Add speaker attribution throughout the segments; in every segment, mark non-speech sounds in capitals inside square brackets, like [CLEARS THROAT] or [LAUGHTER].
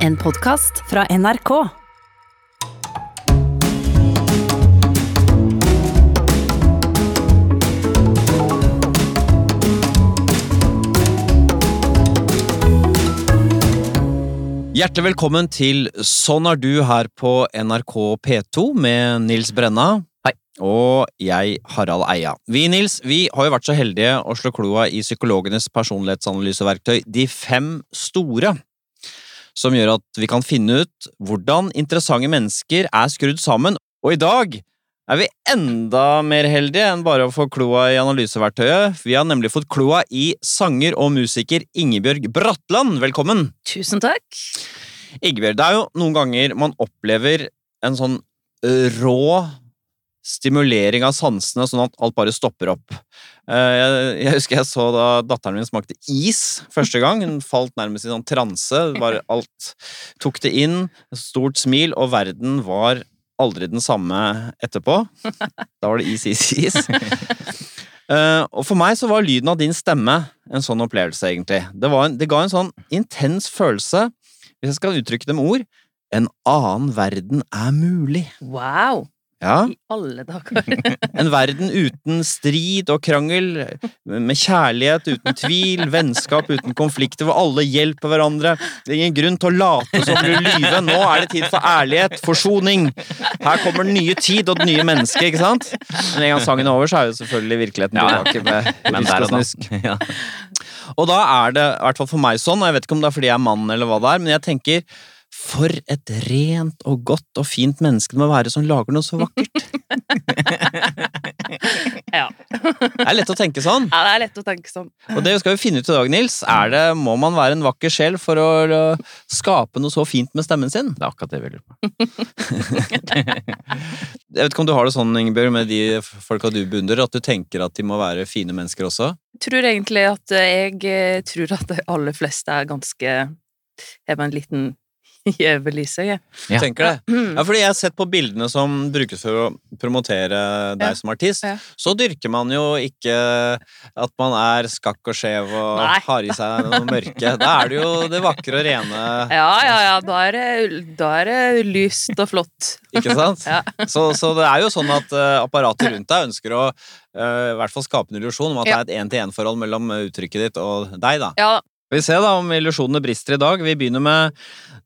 Speaker 1: En podkast fra NRK.
Speaker 2: Hjertelig velkommen til Sånn er du her på NRK P2 med Nils Brenna.
Speaker 3: Hei.
Speaker 2: Og jeg, Harald Eia. Vi, Nils, vi har jo vært så heldige å slå kloa i psykologenes personlighetsanalyseverktøy De fem store. Som gjør at vi kan finne ut hvordan interessante mennesker er skrudd sammen. Og i dag er vi enda mer heldige enn bare å få kloa i analyseverktøyet. Vi har nemlig fått kloa i sanger og musiker Ingebjørg Bratland. Velkommen!
Speaker 1: Tusen takk.
Speaker 2: Ingebjørg, det er jo noen ganger man opplever en sånn ø, rå stimulering av sansene, sånn at alt bare stopper opp. Eh, Jeg, jeg husker jeg så da datteren min smakte is første gang. Hun falt nærmest i sånn transe. Bare alt tok det inn. Stort smil, og verden var aldri den samme etterpå. Da var det is, is, is. Eh, og for meg så var lyden av din stemme en sånn opplevelse, egentlig. Det, var en, det ga en sånn intens følelse hvis jeg skal uttrykke det med ord, en annen verden er mulig.
Speaker 1: Wow.
Speaker 2: Ja,
Speaker 1: I alle dager. [LAUGHS]
Speaker 2: En verden uten strid og krangel, med kjærlighet uten tvil, vennskap uten konflikter, hvor alle hjelper hverandre. Det er ingen grunn til å late som du lyver. Nå er det tid for ærlighet, forsoning. Her kommer den nye tid og det nye mennesket, ikke sant? Men en gang sangen er over, så er jo selvfølgelig virkeligheten
Speaker 3: Ja, ja.
Speaker 2: tilbake med
Speaker 3: Men der
Speaker 2: rusk og
Speaker 3: og da.
Speaker 2: snusk. Og da er det, i hvert fall for meg sånn, og jeg vet ikke om det er fordi jeg er mann eller hva det er, men jeg tenker for et rent og godt og fint menneske det må være som lager noe så vakkert.
Speaker 1: Ja.
Speaker 2: Det er lett å tenke sånn.
Speaker 1: ja, det er lett å tenke sånn.
Speaker 2: Og det skal vi finne ut i dag, Nils. Er det, må man være en vakker sjel for å øh, skape noe så fint med stemmen sin?
Speaker 3: Det er akkurat det vi lurer på.
Speaker 2: [LAUGHS] Jeg vet ikke om du har det sånn, Ingebjørg, med de folka du beundrer, at du tenker at de må være fine mennesker også?
Speaker 1: Jeg tror egentlig at eh, jeg eh, tror at de aller fleste er ganske Har en liten [LAUGHS] gjøvelise, jeg.
Speaker 3: Ja.
Speaker 2: Du Tenker det?
Speaker 1: Mm.
Speaker 2: Ja, fordi jeg har sett på bildene som brukes for å promotere deg
Speaker 1: Ja.
Speaker 2: som artist,
Speaker 1: Ja.
Speaker 2: så dyrker man jo ikke at man er skakk og skjev og
Speaker 1: Nei.
Speaker 2: har i seg noe mørke. Da er det jo det vakre og rene,
Speaker 1: Ja, ja, ja. Da er det, da er det lyst og flott.
Speaker 2: ikke sant?
Speaker 1: Ja.
Speaker 2: Så, så det er jo sånn at eh, apparatet rundt deg ønsker å eh, i hvert fall skape en illusjon om at
Speaker 1: Ja.
Speaker 2: det er et én-til-én-forhold mellom eh, uttrykket ditt og deg, da.
Speaker 1: Ja,
Speaker 2: Vi ser da om illusjonene brister i dag. Vi begynner med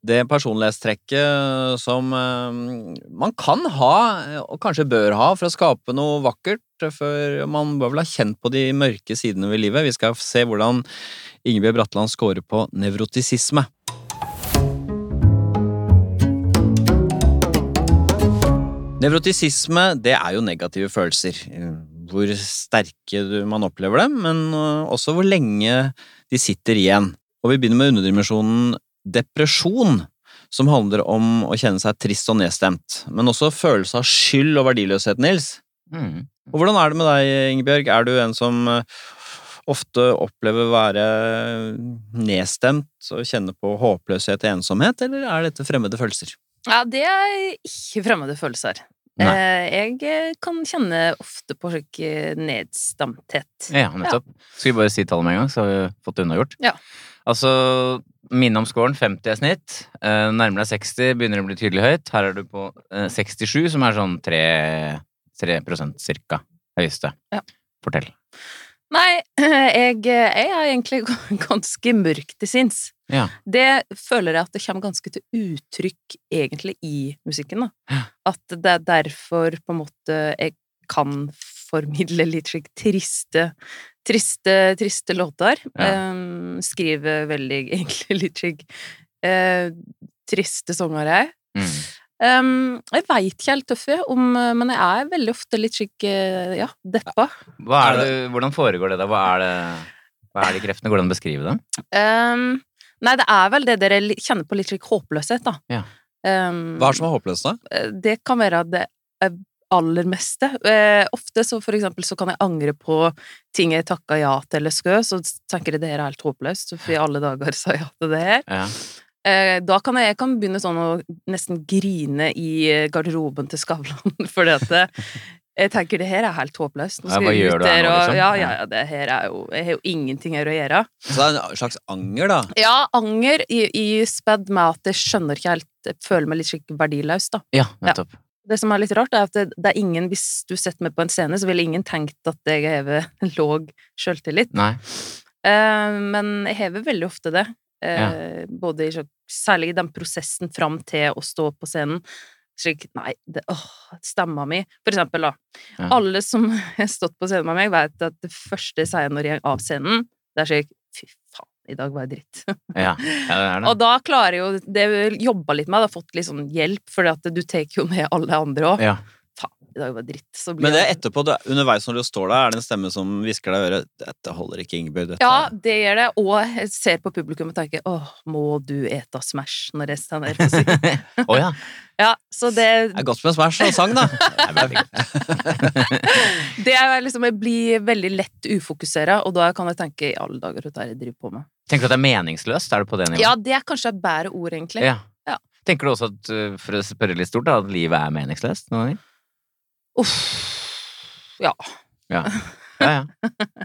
Speaker 2: det personlighetstrekket som eh, man kan ha, eh, og kanskje bør ha, for å skape noe vakkert. For man bør vel ha kjent på de mørke sidene ved livet. Vi skal se hvordan Ingebjørg Bratland scorer på nevrotisisme. Nevrotisisme det er jo negative følelser. eh, Hvor sterke du- man opplever dem, men eh, også hvor lenge de sitter igjen. Og vi begynner med underdimensjonen depresjon, som handler om å kjenne seg trist og nedstemt. Men også følelse av skyld og verdiløshet, Nils.
Speaker 3: Mm.
Speaker 2: Og hvordan er det med deg, Ingebjørg? Er du en som eh, ofte opplever å være nedstemt og kjenne på håpløshet og ensomhet, eller er dette fremmede følelser?
Speaker 1: Ja, det er ikke fremmede følelser.
Speaker 3: Nei.
Speaker 1: Eh, Jeg eh, kan kjenne ofte på slik eh, nedstamthet.
Speaker 3: Ja, nettopp. Skal vi bare si tallet med en gang, så har vi fått det unnagjort?
Speaker 1: Ja.
Speaker 3: Altså, minne om scoren. 50 er snitt. Eh, Nærmer deg 60, begynner å bli tydelig høyt. Her er du på eh, 67, som er sånn 3, 3 cirka. Høyeste.
Speaker 1: Ja.
Speaker 3: Fortell.
Speaker 1: Nei, [LAUGHS] jeg, jeg er egentlig [LAUGHS] ganske mørk til sinns.
Speaker 3: Ja.
Speaker 1: Det føler jeg at det kommer ganske til uttrykk egentlig i musikken. Da. At det er derfor på en måte jeg kan formidle litt slik triste, triste, triste låter.
Speaker 3: Ja.
Speaker 1: Ehm, skrive veldig [LAUGHS] egentlig litt slik eh, triste sanger, jeg.
Speaker 3: Mm.
Speaker 1: Ehm, jeg veit ikke helt tøffe, om, men jeg er veldig ofte litt slik eh, ja, deppa.
Speaker 3: Hva
Speaker 2: Er
Speaker 3: er det, hvordan foregår det da? Hva er det hva er de kreftene? Går det an å beskrive dem?
Speaker 1: Ehm, nei, det er vel det dere li- kjenner på litt slik håpløshet, da.
Speaker 3: Ja.
Speaker 1: Ehm, eh,
Speaker 2: Hva er det som er håpløst, da?
Speaker 1: det kan være det eh, aller meste. Eh, ofte så for eksempel så kan jeg angre på ting jeg takka ja til eller skø, så tenker jeg det her er helt håpløst, for i alle dager sa jeg ja til det her.
Speaker 3: Ja.
Speaker 1: Eh, da kan jeg, jeg kan begynne sånn å nesten grine i eh, garderoben til Skavlan, [LAUGHS] fordi at det, Jeg tenker det her er helt håpløst. Nå
Speaker 3: Ja,
Speaker 1: skal
Speaker 3: hva
Speaker 1: jeg
Speaker 3: gjør
Speaker 1: ut
Speaker 3: du her
Speaker 1: der
Speaker 3: nå,
Speaker 1: og
Speaker 3: liksom?
Speaker 1: Ja, ja, ja, det her er jo Jeg har jo ingenting her å gjøre.
Speaker 2: Så det er en slags anger, da.
Speaker 1: Ja, anger i, i spedd med at jeg skjønner ikke helt Jeg føler meg litt slik verdiløs, da.
Speaker 3: Ja, nettopp.
Speaker 1: Det som er litt rart, er at det, det er ingen Hvis du setter meg på en scene, så ville ingen tenkt at jeg har [LAUGHS] låg sjøltillit.
Speaker 3: Nei.
Speaker 1: Eh, men jeg hever veldig ofte det. Eh, Både i sånn- Særlig i den prosessen fram til å stå på scenen. Slik Nei, det, åh, stemma mi For eksempel, da.
Speaker 3: Ja.
Speaker 1: Alle som [LAUGHS] har stått på scenen med meg, vet at det første jeg sier når jeg går av scenen, det er slik Fy faen, i dag var jeg dritt.
Speaker 3: Ja, ja det er det.
Speaker 1: Og da klarer jeg jo Det har jeg jobba litt med, da, fått litt sånn hjelp, for du tar jo med alle andre òg.
Speaker 3: Ja.
Speaker 1: I dag var jeg dritt. Så blir
Speaker 2: Men det er
Speaker 1: jeg-
Speaker 2: etterpå, det, er- underveis når du står der, er det en stemme som hvisker deg i øret 'Dette holder ikke, Ingebjørg'. Dette.
Speaker 1: Ja, det gjør det. Og jeg ser på publikum og tenker åh, må du eta Smash når jeg står der på scenen?
Speaker 3: [LAUGHS] Å ja.
Speaker 1: Ja, så det,
Speaker 2: Det er godt med Smash og sang, da.
Speaker 3: Det er veldig godt.
Speaker 1: det er liksom Jeg blir veldig lett ufokusera, og da kan jeg tenke i alle dager hva er det jeg driver på med.
Speaker 3: Tenker du at det er meningsløst? Er du på det nivået?
Speaker 1: Ja, det er kanskje et bedre ord, egentlig.
Speaker 3: Ja.
Speaker 1: Ja.
Speaker 3: Tenker du også at, uh, for å spørre litt stort, da, at livet er meningsløst noen ganger?
Speaker 1: Uff. Ja.
Speaker 3: Ja,
Speaker 1: [LAUGHS]
Speaker 3: ja.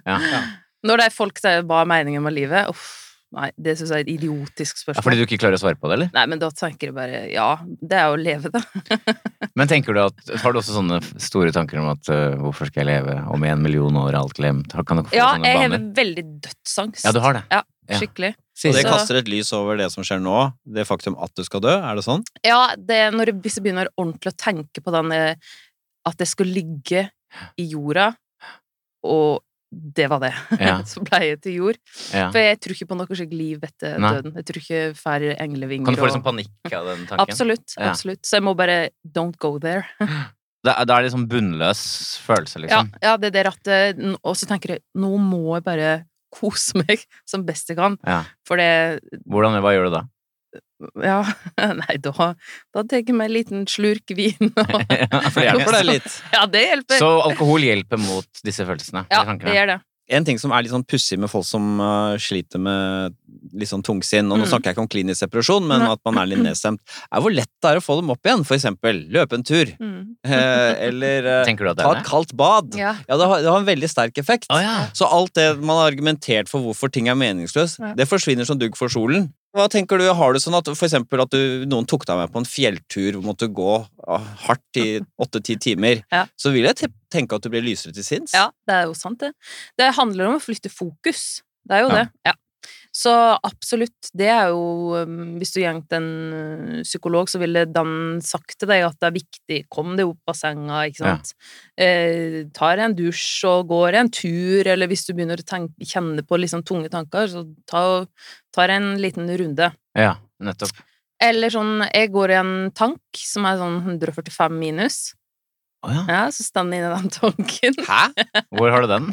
Speaker 3: ja.
Speaker 1: Når det er folk sier 'hva er meningen med livet', uff. Nei, det syns jeg er et idiotisk
Speaker 3: ja
Speaker 1: spørsmål.
Speaker 3: fordi du ikke klarer å svare på det, eller?
Speaker 1: Nei, men da tenker jeg bare ja, det er jo å leve, da.
Speaker 3: Men tenker du at, har du også sånne f- store tanker om at uh, hvorfor skal jeg leve om en million år er alt glemt? Har- Kan du få
Speaker 1: Ja,
Speaker 3: sånne
Speaker 1: jeg har
Speaker 3: baner?
Speaker 1: veldig dødsangst.
Speaker 3: Ja, du har det.
Speaker 1: Ja,
Speaker 3: Ja.
Speaker 1: skikkelig.
Speaker 2: Og det
Speaker 1: Så-
Speaker 2: kaster et lys over det som skjer nå, det faktum at du skal dø. Er det sånn?
Speaker 1: Ja, det, når jeg, hvis jeg begynner ordentlig å tenke på den eh, At jeg skulle ligge i jorda, og det var det.
Speaker 3: Ja.
Speaker 1: [LAUGHS] Så ble jeg til jord.
Speaker 3: Ja.
Speaker 1: For jeg tror ikke på noe slik liv etter
Speaker 3: Nei.
Speaker 1: døden. Jeg tror ikke jeg får englevinger.
Speaker 3: Kan du få
Speaker 1: og-
Speaker 3: litt sånn panikk av den tanken?
Speaker 1: Absolutt.
Speaker 3: Ja.
Speaker 1: absolutt. Så jeg må bare don't go there.
Speaker 3: Da, da er det sånn bunnløs følelse,
Speaker 1: Ja,
Speaker 3: liksom.
Speaker 1: ja, det der at eh, n- Og så tenker jeg nå må jeg bare kose meg [LAUGHS] som best jeg kan.
Speaker 3: Ja.
Speaker 1: For det
Speaker 3: Hvordan, hva gjør du da?
Speaker 1: Ja, [LAUGHS] nei, da, da tar jeg meg en liten slurk vin. Og,
Speaker 2: For det hjelper deg litt.
Speaker 1: [LAUGHS] ja, det hjelper.
Speaker 3: Så alkohol hjelper mot disse følelsene?
Speaker 1: ja,
Speaker 3: eller
Speaker 1: det
Speaker 3: tankene?
Speaker 1: gjør det.
Speaker 2: En ting som er litt sånn pussig med folk som øh, sliter med litt sånn tungsinn, og nå
Speaker 1: Mm.
Speaker 2: snakker jeg ikke om klinisk depresjon, men
Speaker 1: Nei.
Speaker 2: at man er litt nedstemt, er hvor lett det er å få dem opp igjen. For eksempel løpe en tur,
Speaker 1: Mm. [LAUGHS]
Speaker 2: eh, eller eh,
Speaker 3: Tenker du at det
Speaker 2: ta
Speaker 3: er
Speaker 2: et
Speaker 3: det?
Speaker 2: kaldt bad.
Speaker 1: Ja.
Speaker 2: Ja, det har, det har en veldig sterk effekt.
Speaker 3: Å ja.
Speaker 2: Så alt det man har argumentert for hvorfor ting er meningsløst,
Speaker 1: Ja.
Speaker 2: det forsvinner som dugg for solen. Hva tenker du, har du sånn at for eksempel at du, noen tok deg med på en fjelltur hvor du måtte gå ah, hardt i
Speaker 1: [LAUGHS]
Speaker 2: åtte-ti timer,
Speaker 1: Ja.
Speaker 2: så vil jeg te- tenke at du blir lysere til sinns.
Speaker 1: Ja, det er jo sant, det. Det handler om å flytte fokus. Det er jo
Speaker 3: Ja.
Speaker 1: det. Ja. Så absolutt, det er jo um, Hvis du gikk til en ø, psykolog, så ville den sagt til deg at det er viktig Kom deg opp av senga, ikke
Speaker 3: Ja.
Speaker 1: sant. Eh, tar en dusj og går en tur, eller hvis du begynner å tenke, kjenne på liksom tunge tanker, så ta, tar en liten runde.
Speaker 3: ja, nettopp.
Speaker 1: Eller sånn Jeg går i en tank som er sånn 145 minus.
Speaker 3: Å ja.
Speaker 1: Ja, så står jeg inne i den tanken.
Speaker 2: Hæ?
Speaker 3: Hvor har du den?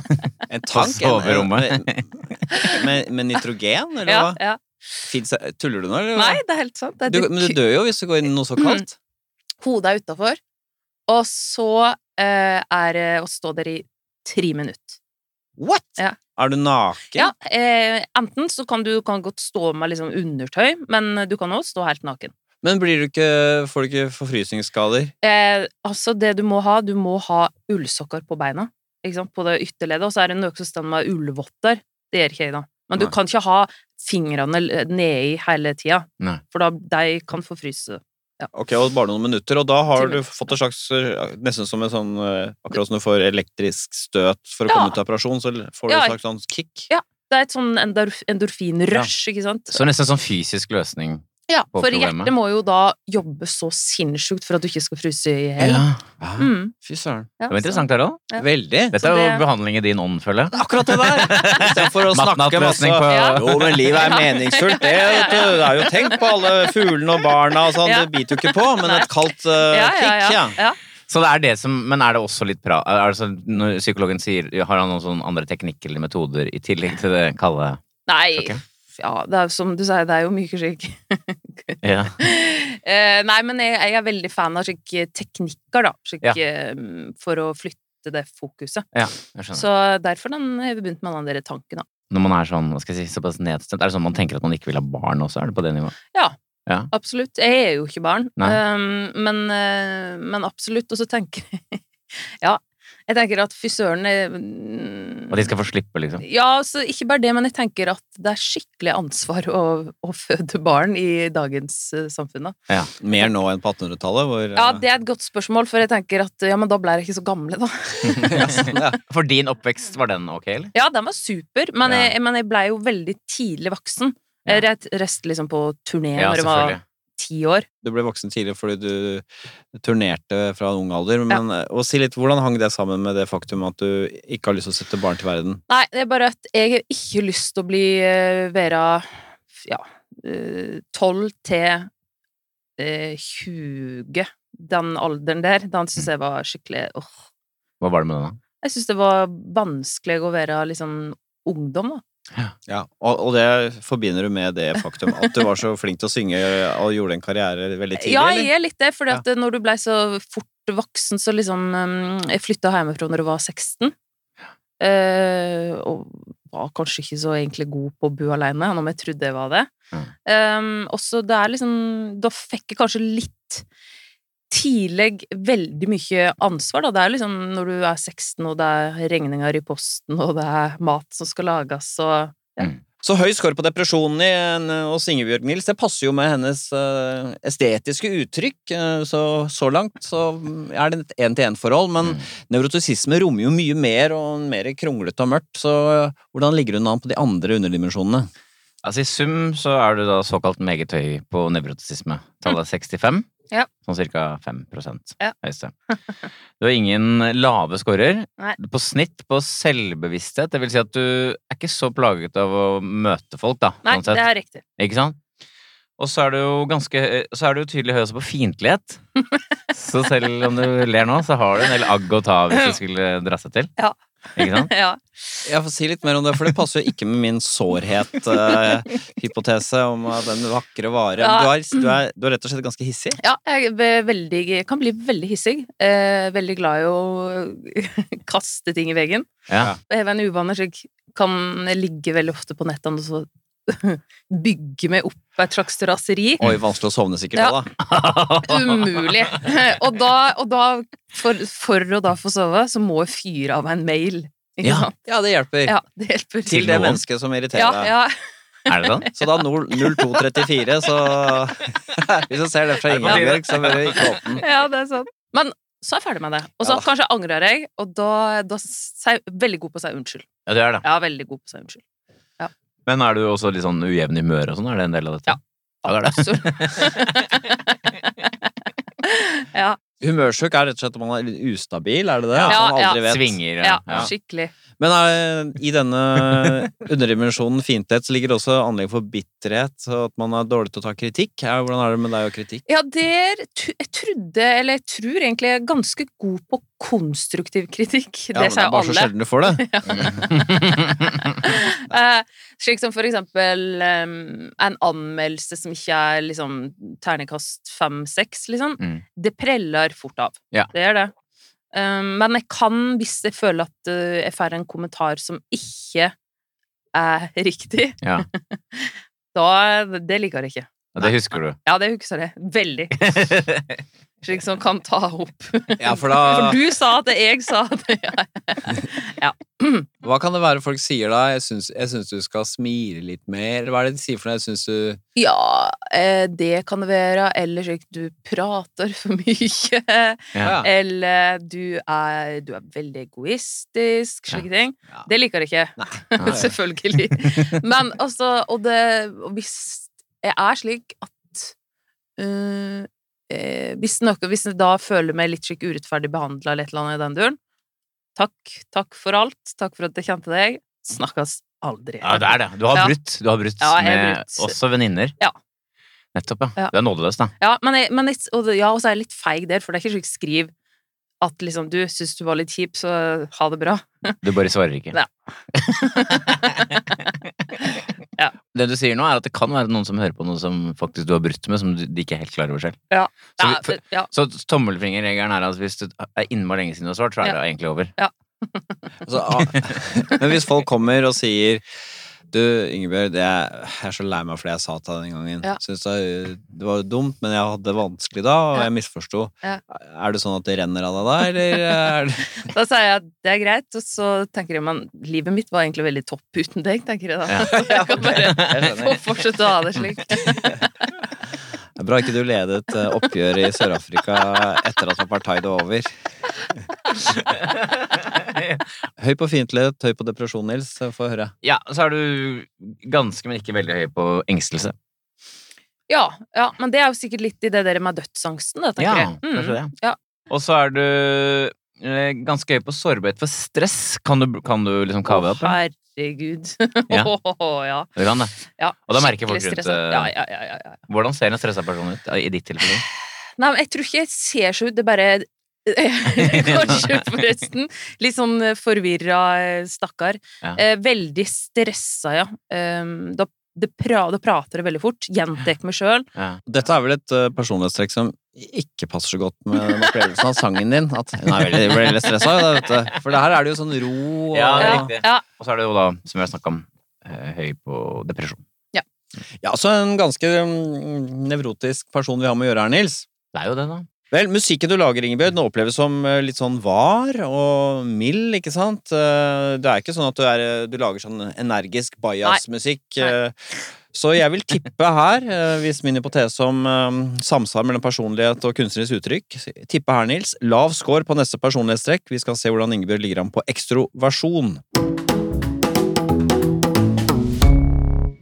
Speaker 2: En tank? en-
Speaker 3: soverommet.
Speaker 2: en- Med, med nitrogen, [LAUGHS] eller
Speaker 1: Ja,
Speaker 2: hva?
Speaker 1: ja.
Speaker 2: Finns, tuller du nå, eller? hva?
Speaker 1: Nei, det er helt sant. Det Mm. er
Speaker 2: Du,
Speaker 1: det
Speaker 2: men du dør jo hvis du går inn i noe så kaldt.
Speaker 1: hodet er utafor, og så eh, er det å stå der i tre minutter.
Speaker 2: What?!
Speaker 1: Ja.
Speaker 2: Er du naken?
Speaker 1: Ja, eh, enten så kan du kan godt stå med liksom undertøy, men du kan også stå helt naken.
Speaker 2: Men blir du ikke, får du ikke forfrysningsskader?
Speaker 1: Eh, altså, det du må ha, du må ha ullsokker på beina, ikke sant, på det ytterleddet, og så er det noe som står med ullvotter. Det gjør ikke jeg, da. Men du
Speaker 2: Nei.
Speaker 1: kan ikke ha fingrene l- nedi hele tida,
Speaker 3: Nei.
Speaker 1: for da de kan forfryse.
Speaker 2: Ok, og bare noen minutter, og da har
Speaker 1: Ti
Speaker 2: du
Speaker 1: minutter.
Speaker 2: fått en slags eh, Nesten som en sånn eh, Akkurat som du får elektrisk støt for å
Speaker 1: Ja.
Speaker 2: komme ut av operasjon, så får du
Speaker 1: Ja.
Speaker 2: en slags sånn kick.
Speaker 1: Ja. Det er et sånn endorf- endorfinrush, ikke sant?
Speaker 3: Så nesten sånn fysisk løsning.
Speaker 1: Ja,
Speaker 3: på
Speaker 1: for
Speaker 3: problemet.
Speaker 1: hjertet må jo da jobbe så sinnssykt for at du ikke skal fryse i hjel.
Speaker 2: Ah,
Speaker 1: Mm,
Speaker 2: Fy søren.
Speaker 1: ja,
Speaker 3: Det var interessant, Harald.
Speaker 1: Ja.
Speaker 2: Veldig.
Speaker 3: Dette
Speaker 1: Så
Speaker 3: er jo
Speaker 1: det-
Speaker 3: behandling i din ånd, føler jeg.
Speaker 2: Akkurat det [LAUGHS] der! Istedenfor å snakke masse
Speaker 3: Natt-natt-løsning på
Speaker 1: Ja.
Speaker 2: Jo, men livet er meningsfullt, det. vet du. Det er jo tenk på alle fuglene og barna og sånn,
Speaker 1: Ja.
Speaker 2: det biter jo ikke på, men et kaldt eh,
Speaker 1: Ja, ja,
Speaker 2: kick, ja.
Speaker 1: ja. ja.
Speaker 3: Så det er det som Men er det også litt bra er det sånn- Når psykologen sier Har han noen sånne andre teknikker eller metoder i tillegg til det kalde
Speaker 1: Nei,
Speaker 3: Ok.
Speaker 1: ja, det er jo som du sier, det er jo mye slik
Speaker 3: ja.
Speaker 1: [LAUGHS] Eh, Nei, men jeg, jeg er veldig fan av slike teknikker, da. Slik,
Speaker 3: Ja.
Speaker 1: eh, For å flytte det fokuset.
Speaker 3: Jeg skjønner.
Speaker 1: Så derfor den, har vi begynt med den der tanken, da.
Speaker 3: Når man er sånn hva skal jeg si, såpass nedstemt, er det sånn man tenker at man ikke vil ha barn også? Er det på det nivået?
Speaker 1: Absolutt. Jeg er jo ikke barn, ehm,
Speaker 3: Nei.
Speaker 1: um, men, eh, men absolutt. Og så tenker jeg [LAUGHS] Ja, Jeg tenker at frisørene mm,
Speaker 3: Og de skal få slippe, liksom.
Speaker 1: Ja, så ikke bare det, men jeg tenker at det er skikkelig ansvar å, å føde barn i dagens eh, samfunn. Da.
Speaker 2: Mer nå enn på 1800-tallet, hvor
Speaker 1: Ja,
Speaker 2: eh,
Speaker 1: det er et godt spørsmål, for jeg tenker at ja, men da ble dere ikke så gamle, da. [LAUGHS]
Speaker 2: ja.
Speaker 3: [LAUGHS] For din oppvekst, var den ok, eller?
Speaker 1: Ja, den var super, men,
Speaker 3: Ja.
Speaker 1: jeg, men jeg ble jo veldig tidlig voksen. Jeg rett- reiste liksom på turné når jeg var ti år.
Speaker 2: Du ble voksen tidlig fordi du turnerte fra en ung alder. Men, eh, og si litt, Hvordan hang det sammen med det faktum at du ikke har lyst til å sette barn til verden?
Speaker 1: Nei, det er bare at jeg har ikke lyst til å bli eh, være ja, eh, 12 til eh, 20. Den alderen der, den syns jeg var skikkelig åh.
Speaker 3: Hva var det med den, da?
Speaker 1: Jeg syns det var vanskelig å være liksom ungdom, da.
Speaker 2: Ja, og, og det forbinder du med det faktum at du [LAUGHS] var så flink til å synge og gjorde en karriere veldig tidlig?
Speaker 1: ja,
Speaker 2: eller?
Speaker 1: jeg er litt det, for når du blei så fort voksen, så liksom eh, Jeg flytta hjemmefra når jeg var 16, eh, og var kanskje ikke så egentlig god på å bo aleine, når jeg trodde jeg var det. Um, også det er liksom Da fikk jeg kanskje litt tidlig veldig mye ansvar, da. Det er liksom når du er 16, og det er regninger i posten, og det er mat som skal lages, og
Speaker 2: Så høy skår på depresjonen i en, eh, hos Ingebjørg Nils. Det passer jo med hennes eh, estetiske uttrykk. eh, så, så langt så er det et én-til-én-forhold,
Speaker 1: Sånn-
Speaker 2: men
Speaker 3: Mm.
Speaker 2: nevrotisisme rommer jo mye mer og mer kronglete og mørkt. Så eh, hvordan ligger hun an på de andre underdimensjonene?
Speaker 3: Altså, I sum så er du da såkalt meget høy på nevrotisisme. Tallet er 65.
Speaker 1: Mm. Ja.
Speaker 3: Sånn ca. 5
Speaker 1: Ja.
Speaker 3: høyeste. Du har ingen lave scorer.
Speaker 1: Nei.
Speaker 3: På snitt på selvbevissthet, det vil si at du er ikke så plaget av å møte folk, da.
Speaker 1: Nei,
Speaker 3: sånn sett.
Speaker 1: det er riktig.
Speaker 3: Ikke sant? Og så er du jo ganske Så er du jo tydelig høy også på
Speaker 1: [LAUGHS]
Speaker 3: fiendtlighet. Så selv om du ler nå, så har du en del agg å ta av hvis det skulle dra seg til.
Speaker 1: Ja.
Speaker 3: Ikke sant?
Speaker 1: [LAUGHS] Ja.
Speaker 2: Jeg får si litt mer om det, for det passer jo ikke med min sårhet-hypotese eh, om at den vakre vare.
Speaker 1: Ja.
Speaker 2: Du, er, du, er, du er rett og slett ganske hissig.
Speaker 1: ja jeg er veldig, kan bli veldig hissig. Eh, veldig glad i å [LAUGHS] kaste ting i veggen.
Speaker 3: Ja.
Speaker 1: Jeg er en uvane, så jeg kan ligge veldig ofte på nettene og så [LAUGHS] bygge meg opp et slags raseri.
Speaker 2: Oi, vanskelig å sovne sikkert
Speaker 1: Ja.
Speaker 2: da, da. [LAUGHS]
Speaker 1: Umulig. Og da, og da for, for å da få sove, så må jeg fyre av meg en mail. Ikke
Speaker 2: Ja,
Speaker 1: sant?
Speaker 2: ja, det hjelper.
Speaker 1: Ja, det hjelper.
Speaker 2: Til det
Speaker 3: Til noen.
Speaker 2: mennesket som irriterer
Speaker 1: ja,
Speaker 2: deg.
Speaker 1: ja.
Speaker 3: Er det sånn?
Speaker 2: Så da nol- 0234, så [LAUGHS] Hvis du ser det fra
Speaker 3: Er det på
Speaker 2: Ingebjørg, så bør du ikke åpne den.
Speaker 1: ja, det er sant. Men så er jeg ferdig med det. Og så
Speaker 2: Ja da.
Speaker 1: kanskje angrer jeg, og da, da er jeg veldig god på å si unnskyld.
Speaker 3: Ja, du er det.
Speaker 1: Ja, veldig god på å si unnskyld.
Speaker 3: Men er du også litt sånn ujevn i humør og sånn? Er det en del av dette?
Speaker 1: Ja.
Speaker 3: Ja, det
Speaker 1: Absolutt. ja,
Speaker 2: Humørsjuk er rett og slett at man er litt ustabil, er det det?
Speaker 3: Ja,
Speaker 2: At man
Speaker 1: ja.
Speaker 2: aldri vet.
Speaker 3: Svinger.
Speaker 1: ja,
Speaker 3: Ja. Ja.
Speaker 1: skikkelig.
Speaker 2: Men er, i denne underdimensjonen fiendtlighet så ligger det også anlegg for bitterhet, så at man er dårlig til å ta kritikk. Ja, Hvordan er det med deg og kritikk?
Speaker 1: Ja, der tu- Jeg trodde, eller jeg tror egentlig jeg er ganske god på konstruktiv kritikk.
Speaker 2: Ja, men
Speaker 1: det sier jo
Speaker 2: bare så
Speaker 1: alle.
Speaker 2: sjelden du får det.
Speaker 1: Eh, slik som for eksempel em, en anmeldelse som ikke er liksom ternekast fem-seks, liksom.
Speaker 3: Mm.
Speaker 1: Det preller fort av.
Speaker 3: Ja.
Speaker 1: Det gjør det. Um, men jeg kan, hvis jeg føler at eh, jeg får en kommentar som ikke er riktig,
Speaker 3: Ja.
Speaker 1: [LAUGHS] da Det liker jeg ikke.
Speaker 3: Ja, Det husker du.
Speaker 1: Ja, det husker jeg. Veldig. Slik som kan ta opp.
Speaker 2: [LAUGHS] Ja, [LAUGHS] for da
Speaker 1: For du sa at jeg sa det. Ja.
Speaker 2: Hva kan det være folk sier da? Jeg syns, jeg syns du skal smile litt mer. Hva er det de sier for noe? Jeg syns du
Speaker 1: Ja, eh, det kan det være. Eller slik du prater for mye.
Speaker 3: Ja.
Speaker 2: Ja.
Speaker 1: Eller du er, du er veldig egoistisk. Slike ting.
Speaker 2: Ja.
Speaker 1: Det liker jeg ikke.
Speaker 3: Nei.
Speaker 1: [LAUGHS] Selvfølgelig. Men altså Og det og Hvis jeg er slik at øh, eh, hvis, noe, hvis jeg da føler meg litt slik urettferdig behandla eller et eller annet i den duren Takk. Takk for alt. Takk for at jeg kjente deg. Snakkes aldri.
Speaker 3: Ja, det er det. Du har
Speaker 1: Ja.
Speaker 3: brutt. Du har brutt
Speaker 1: Ja, jeg har
Speaker 3: med
Speaker 1: brutt.
Speaker 3: også venninner.
Speaker 1: Ja.
Speaker 3: Nettopp, ja.
Speaker 1: Ja.
Speaker 3: Du er nådeløs, da.
Speaker 1: Ja, men jeg, men jeg, og, det- ja, og så er jeg litt feig der, for det er ikke slik skriv at liksom du syns du var litt kjip, så ha det bra.
Speaker 3: Du bare svarer ikke. [LAUGHS]
Speaker 1: Nei. Ja.
Speaker 3: Det du sier nå, er at det kan være noen som hører på noe som faktisk du har brutt med, som du- de ikke er helt klar over selv.
Speaker 1: Ja.
Speaker 3: Så, vi-
Speaker 1: Ja,
Speaker 3: for,
Speaker 1: det- ja.
Speaker 3: så tommelfingerregelen er at hvis det er innmari lenge siden du har svart, så er
Speaker 1: Ja.
Speaker 2: [LAUGHS]
Speaker 3: det egentlig over.
Speaker 2: altså, ah. Men hvis folk kommer og sier Du, Ingebjørg, det er, jeg er så lei meg for det jeg sa til deg den gangen.
Speaker 1: Ja.
Speaker 2: Synes det, det var dumt, men jeg hadde det vanskelig da, og
Speaker 1: Ja.
Speaker 2: jeg misforsto.
Speaker 1: Ja.
Speaker 2: Er det sånn at det renner av deg da, eller [LAUGHS] er det
Speaker 1: Da sier jeg at det er greit, og så tenker jeg men livet mitt var egentlig veldig topp uten deg, tenker jeg da. [LAUGHS] Jeg kan bare
Speaker 3: [LAUGHS]
Speaker 1: få fortsette å ha det slik.
Speaker 2: Det er Bra ikke du ledet eh, oppgjøret i Sør-Afrika etter at apartheid var over.
Speaker 1: [LAUGHS]
Speaker 2: Høy på fiendtlighet, høy på depresjon, Nils. Få høre.
Speaker 3: Ja, så er du ganske, men ikke veldig høy på engstelse.
Speaker 1: Ja, ja, men det er jo sikkert litt i det der med dødsangsten, da, tenker jeg. Mm.
Speaker 3: kanskje det.
Speaker 1: Ja.
Speaker 3: Og så er du eh, ganske høy på sårbarhet for stress. Kan du, kan du liksom kave deg opp?
Speaker 1: Å,
Speaker 3: eller?
Speaker 1: herregud. [LAUGHS]
Speaker 3: Ja.
Speaker 1: Åh, ja.
Speaker 3: Du kan det.
Speaker 1: ja.
Speaker 3: Og da merker folk
Speaker 1: Skikkelig
Speaker 3: rundt,
Speaker 1: stressa.
Speaker 3: eh,
Speaker 1: Ja, ja, ja, ja, ja.
Speaker 3: Hvordan ser en stressa person ut eh, i ditt tilfelle?
Speaker 1: Nei, men jeg tror ikke jeg ser så ut, det er bare eh, [LAUGHS] Kanskje, forresten. Litt sånn forvirra eh, stakkar.
Speaker 3: Ja.
Speaker 1: Eh, veldig stressa, ja. Um, da, det pra, da prater jeg veldig fort. Gjentar meg sjøl.
Speaker 3: Ja.
Speaker 2: Dette er vel et eh, personlighetstrekk som ikke passer så godt med den opplevelsen av sangen din. At hun er veldig, veldig stressa, da, vet du. For det her er det jo sånn ro og
Speaker 3: Ja, det er
Speaker 1: Ja,
Speaker 3: riktig.
Speaker 1: ja,
Speaker 3: Og så er det jo da, som vi har snakka om, eh, høy på depresjon.
Speaker 2: Ja, så en ganske mm, nevrotisk person vi har med å gjøre her, Nils.
Speaker 3: Det er jo det, da.
Speaker 2: Vel, musikken du lager, Ingebjørg, den oppleves som eh, litt sånn var og mild, ikke sant? Eh, Det er ikke sånn at du, er, eh, du lager sånn energisk bajasmusikk.
Speaker 1: Nei.
Speaker 2: eh, Så jeg vil tippe her, eh, hvis min hypotese om eh, samsvar mellom personlighet og kunstnerisk uttrykk Tippe her, Nils. Lav score på neste personlighetstrekk. Vi skal se hvordan Ingebjørg ligger an på ekstroversjon.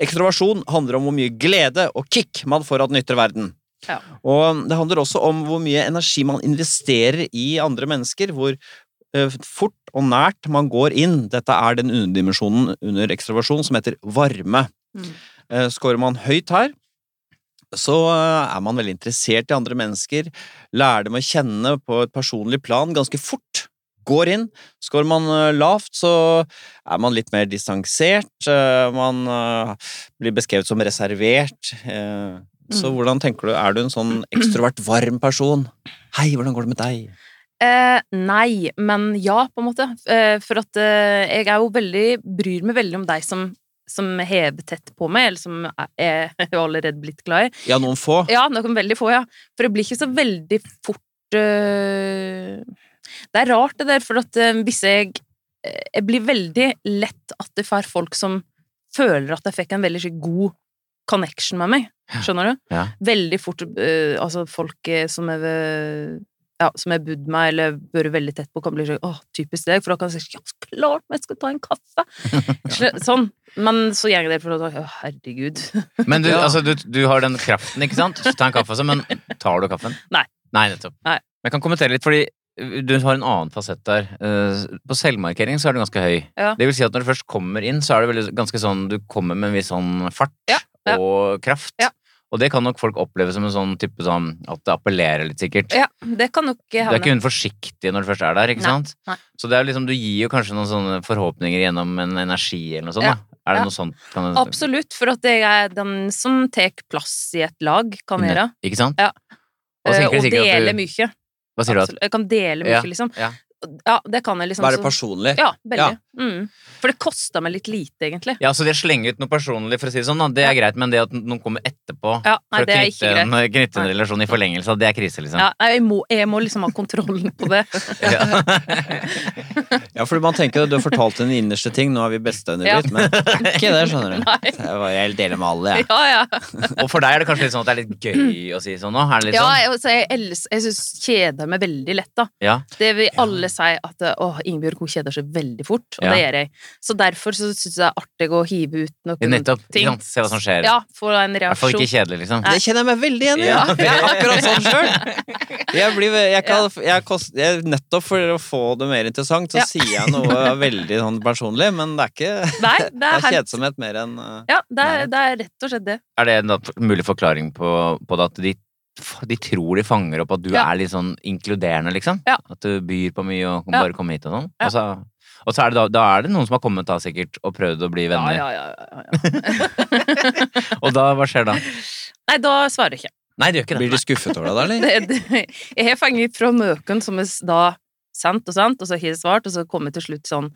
Speaker 2: Ekstroversjon handler om hvor mye glede og kick man får av den ytre verden.
Speaker 1: Ja.
Speaker 2: Og det handler også om hvor mye energi man investerer i andre mennesker. Hvor eh, fort og nært man går inn. Dette er den underdimensjonen under ekstroversjon som heter varme.
Speaker 1: Mm.
Speaker 2: Eh, Scorer man høyt her, så eh, er man veldig interessert i andre mennesker. Lærer dem å kjenne på et personlig plan ganske fort. Går inn. Scorer man eh, lavt, så er man litt mer distansert. eh, Man eh, blir beskrevet som reservert. eh, Så
Speaker 1: Mm.
Speaker 2: hvordan tenker du, er du en sånn ekstrovert, varm person? Hei, hvordan går det med deg?
Speaker 1: Eh, nei, men ja, på en måte. Eh, for at eh, jeg er jo veldig Bryr meg veldig om deg som som hever tett på meg, eller som jeg er [LAUGHS] jo allerede blitt glad i.
Speaker 2: Ja, noen få.
Speaker 1: Ja, noen veldig få, ja. For det blir ikke så veldig fort øh, Det er rart, det der, for at øh, hvis jeg øh, Jeg blir veldig lett at det får folk som føler at jeg fikk en veldig slik god connection med meg. Skjønner du?
Speaker 3: Ja.
Speaker 1: Veldig fort øh, Altså, folk eh, som jeg øh, ja, som jeg bodde meg eller vært veldig tett på, kan bli sånn åh, typisk deg, for da kan jeg si ja, så klart, men jeg skal ta en
Speaker 3: [LAUGHS]
Speaker 1: kaffe. Skjø- Sånn. Men så går det for å ta Å, herregud.
Speaker 3: Men du,
Speaker 2: Ja.
Speaker 3: altså, du, du har den kraften, ikke sant? Så ta en kaffe også, men tar du kaffen?
Speaker 1: Nei.
Speaker 3: Nei, nettopp.
Speaker 1: Nei.
Speaker 3: Men jeg kan kommentere litt, fordi uh, du har en annen fasett der. Uh, På selvmarkering så er du ganske høy.
Speaker 1: Ja.
Speaker 3: Det vil si at når du først kommer inn, så er det veldig, ganske sånn Du kommer med en viss sånn fart
Speaker 1: Ja, ja.
Speaker 3: og kraft.
Speaker 1: Ja.
Speaker 3: Og det kan nok folk oppleve som en sånn type sånn at det appellerer litt, sikkert.
Speaker 1: [LAUGHS] Ja, det kan nok
Speaker 3: Du er
Speaker 1: hende.
Speaker 3: ikke hun forsiktig når du først er der, ikke
Speaker 1: Nei,
Speaker 3: sant?
Speaker 1: nei.
Speaker 3: Så det er jo liksom, du gir jo kanskje noen sånne forhåpninger gjennom en energi eller noe sånt,
Speaker 1: Ja,
Speaker 3: da. Er det
Speaker 1: ja.
Speaker 3: noe sånt? Kan du-
Speaker 1: Absolutt, for at jeg er den som tar plass i et lag, kan jeg gjøre.
Speaker 3: Ikke sant?
Speaker 1: Ja.
Speaker 3: Mm. Og,
Speaker 1: Eh, Og
Speaker 3: så tenker du sikkert at
Speaker 1: dele
Speaker 3: du,
Speaker 1: mye.
Speaker 3: hva sier du at
Speaker 1: Absolutt. Jeg kan dele mye,
Speaker 3: Ja,
Speaker 1: liksom.
Speaker 3: ja.
Speaker 1: Ja, det kan jeg liksom.
Speaker 2: Være
Speaker 1: så-
Speaker 2: personlig.
Speaker 1: Ja, veldig. Mm. For det kosta meg litt lite, egentlig.
Speaker 3: Ja, så det å slenge ut noe personlig, for å si det sånn, da, det er greit, men det at noen kommer etterpå
Speaker 1: Ja, nei,
Speaker 3: for å
Speaker 1: det er
Speaker 3: knytte
Speaker 1: ikke greit.
Speaker 3: en, knytte en relasjon i forlengelse, av det er krise, liksom.
Speaker 1: Ja, nei, jeg, må, jeg må liksom ha kontrollen på det.
Speaker 3: [LAUGHS] Ja.
Speaker 2: Ja, for man tenker at du har fortalt den innerste ting, nå er vi bestevenner
Speaker 1: Ja.
Speaker 2: litt, men det er ikke det, skjønner du.
Speaker 1: Nei.
Speaker 2: Det var- Jeg deler med alle, jeg.
Speaker 1: Ja, ja.
Speaker 3: Og for deg er det kanskje litt sånn at det er litt gøy å si sånn nå? Er det litt
Speaker 1: ja
Speaker 3: sånn?
Speaker 1: jeg, altså, jeg, els- jeg syns kjeder meg veldig lett, da.
Speaker 3: Ja.
Speaker 1: Det vil alle si at åh, Ingebjørg hun kjeder seg veldig fort, og
Speaker 3: Ja.
Speaker 1: det gjør jeg. Så derfor så syns jeg det er artig å hive ut
Speaker 3: Ja,
Speaker 1: noen
Speaker 3: Nettopp.
Speaker 1: ting.
Speaker 3: Ikke sant? Se hva som skjer.
Speaker 1: Ja, få en
Speaker 3: I hvert fall
Speaker 1: reaksjon.
Speaker 3: ikke kjedelig, liksom.
Speaker 2: Det kjenner jeg meg veldig igjen i.
Speaker 3: Ja.
Speaker 2: Jeg
Speaker 3: [LAUGHS]
Speaker 2: er akkurat sånn sjøl. Jeg blir, jeg kan, jeg kost, jeg, nettopp for å få det mer interessant, så
Speaker 1: Ja.
Speaker 2: sier
Speaker 1: [LAUGHS]
Speaker 2: jeg noe veldig sånn personlig, men det er ikke
Speaker 1: Nei, det
Speaker 2: det
Speaker 1: er
Speaker 2: er
Speaker 1: helt
Speaker 2: kjedsomhet mer enn eh,
Speaker 1: Ja, det er,
Speaker 2: Nærhet.
Speaker 1: det er rett og slett det.
Speaker 3: Er det en da mulig forklaring på, på det at de, de tror de fanger opp at du
Speaker 1: Ja.
Speaker 3: er litt sånn inkluderende, liksom?
Speaker 1: Ja.
Speaker 3: At du byr på mye og kan
Speaker 1: Ja.
Speaker 3: bare komme hit og sånn?
Speaker 1: Ja.
Speaker 3: Og, så, og så er det da, da er det noen som har kommet da, sikkert, og prøvd å bli venner.
Speaker 1: Ja, ja, ja, ja, ja.
Speaker 3: Og da, hva skjer da?
Speaker 1: Nei, da svarer jeg ikke.
Speaker 3: Nei, det gjør ikke det.
Speaker 2: Blir de skuffet over deg da, eller?
Speaker 1: Det- det- Jeg har fanget fra noen som er s- da sendt og sendt, og så har jeg svart, og så kommer jeg til slutt sånn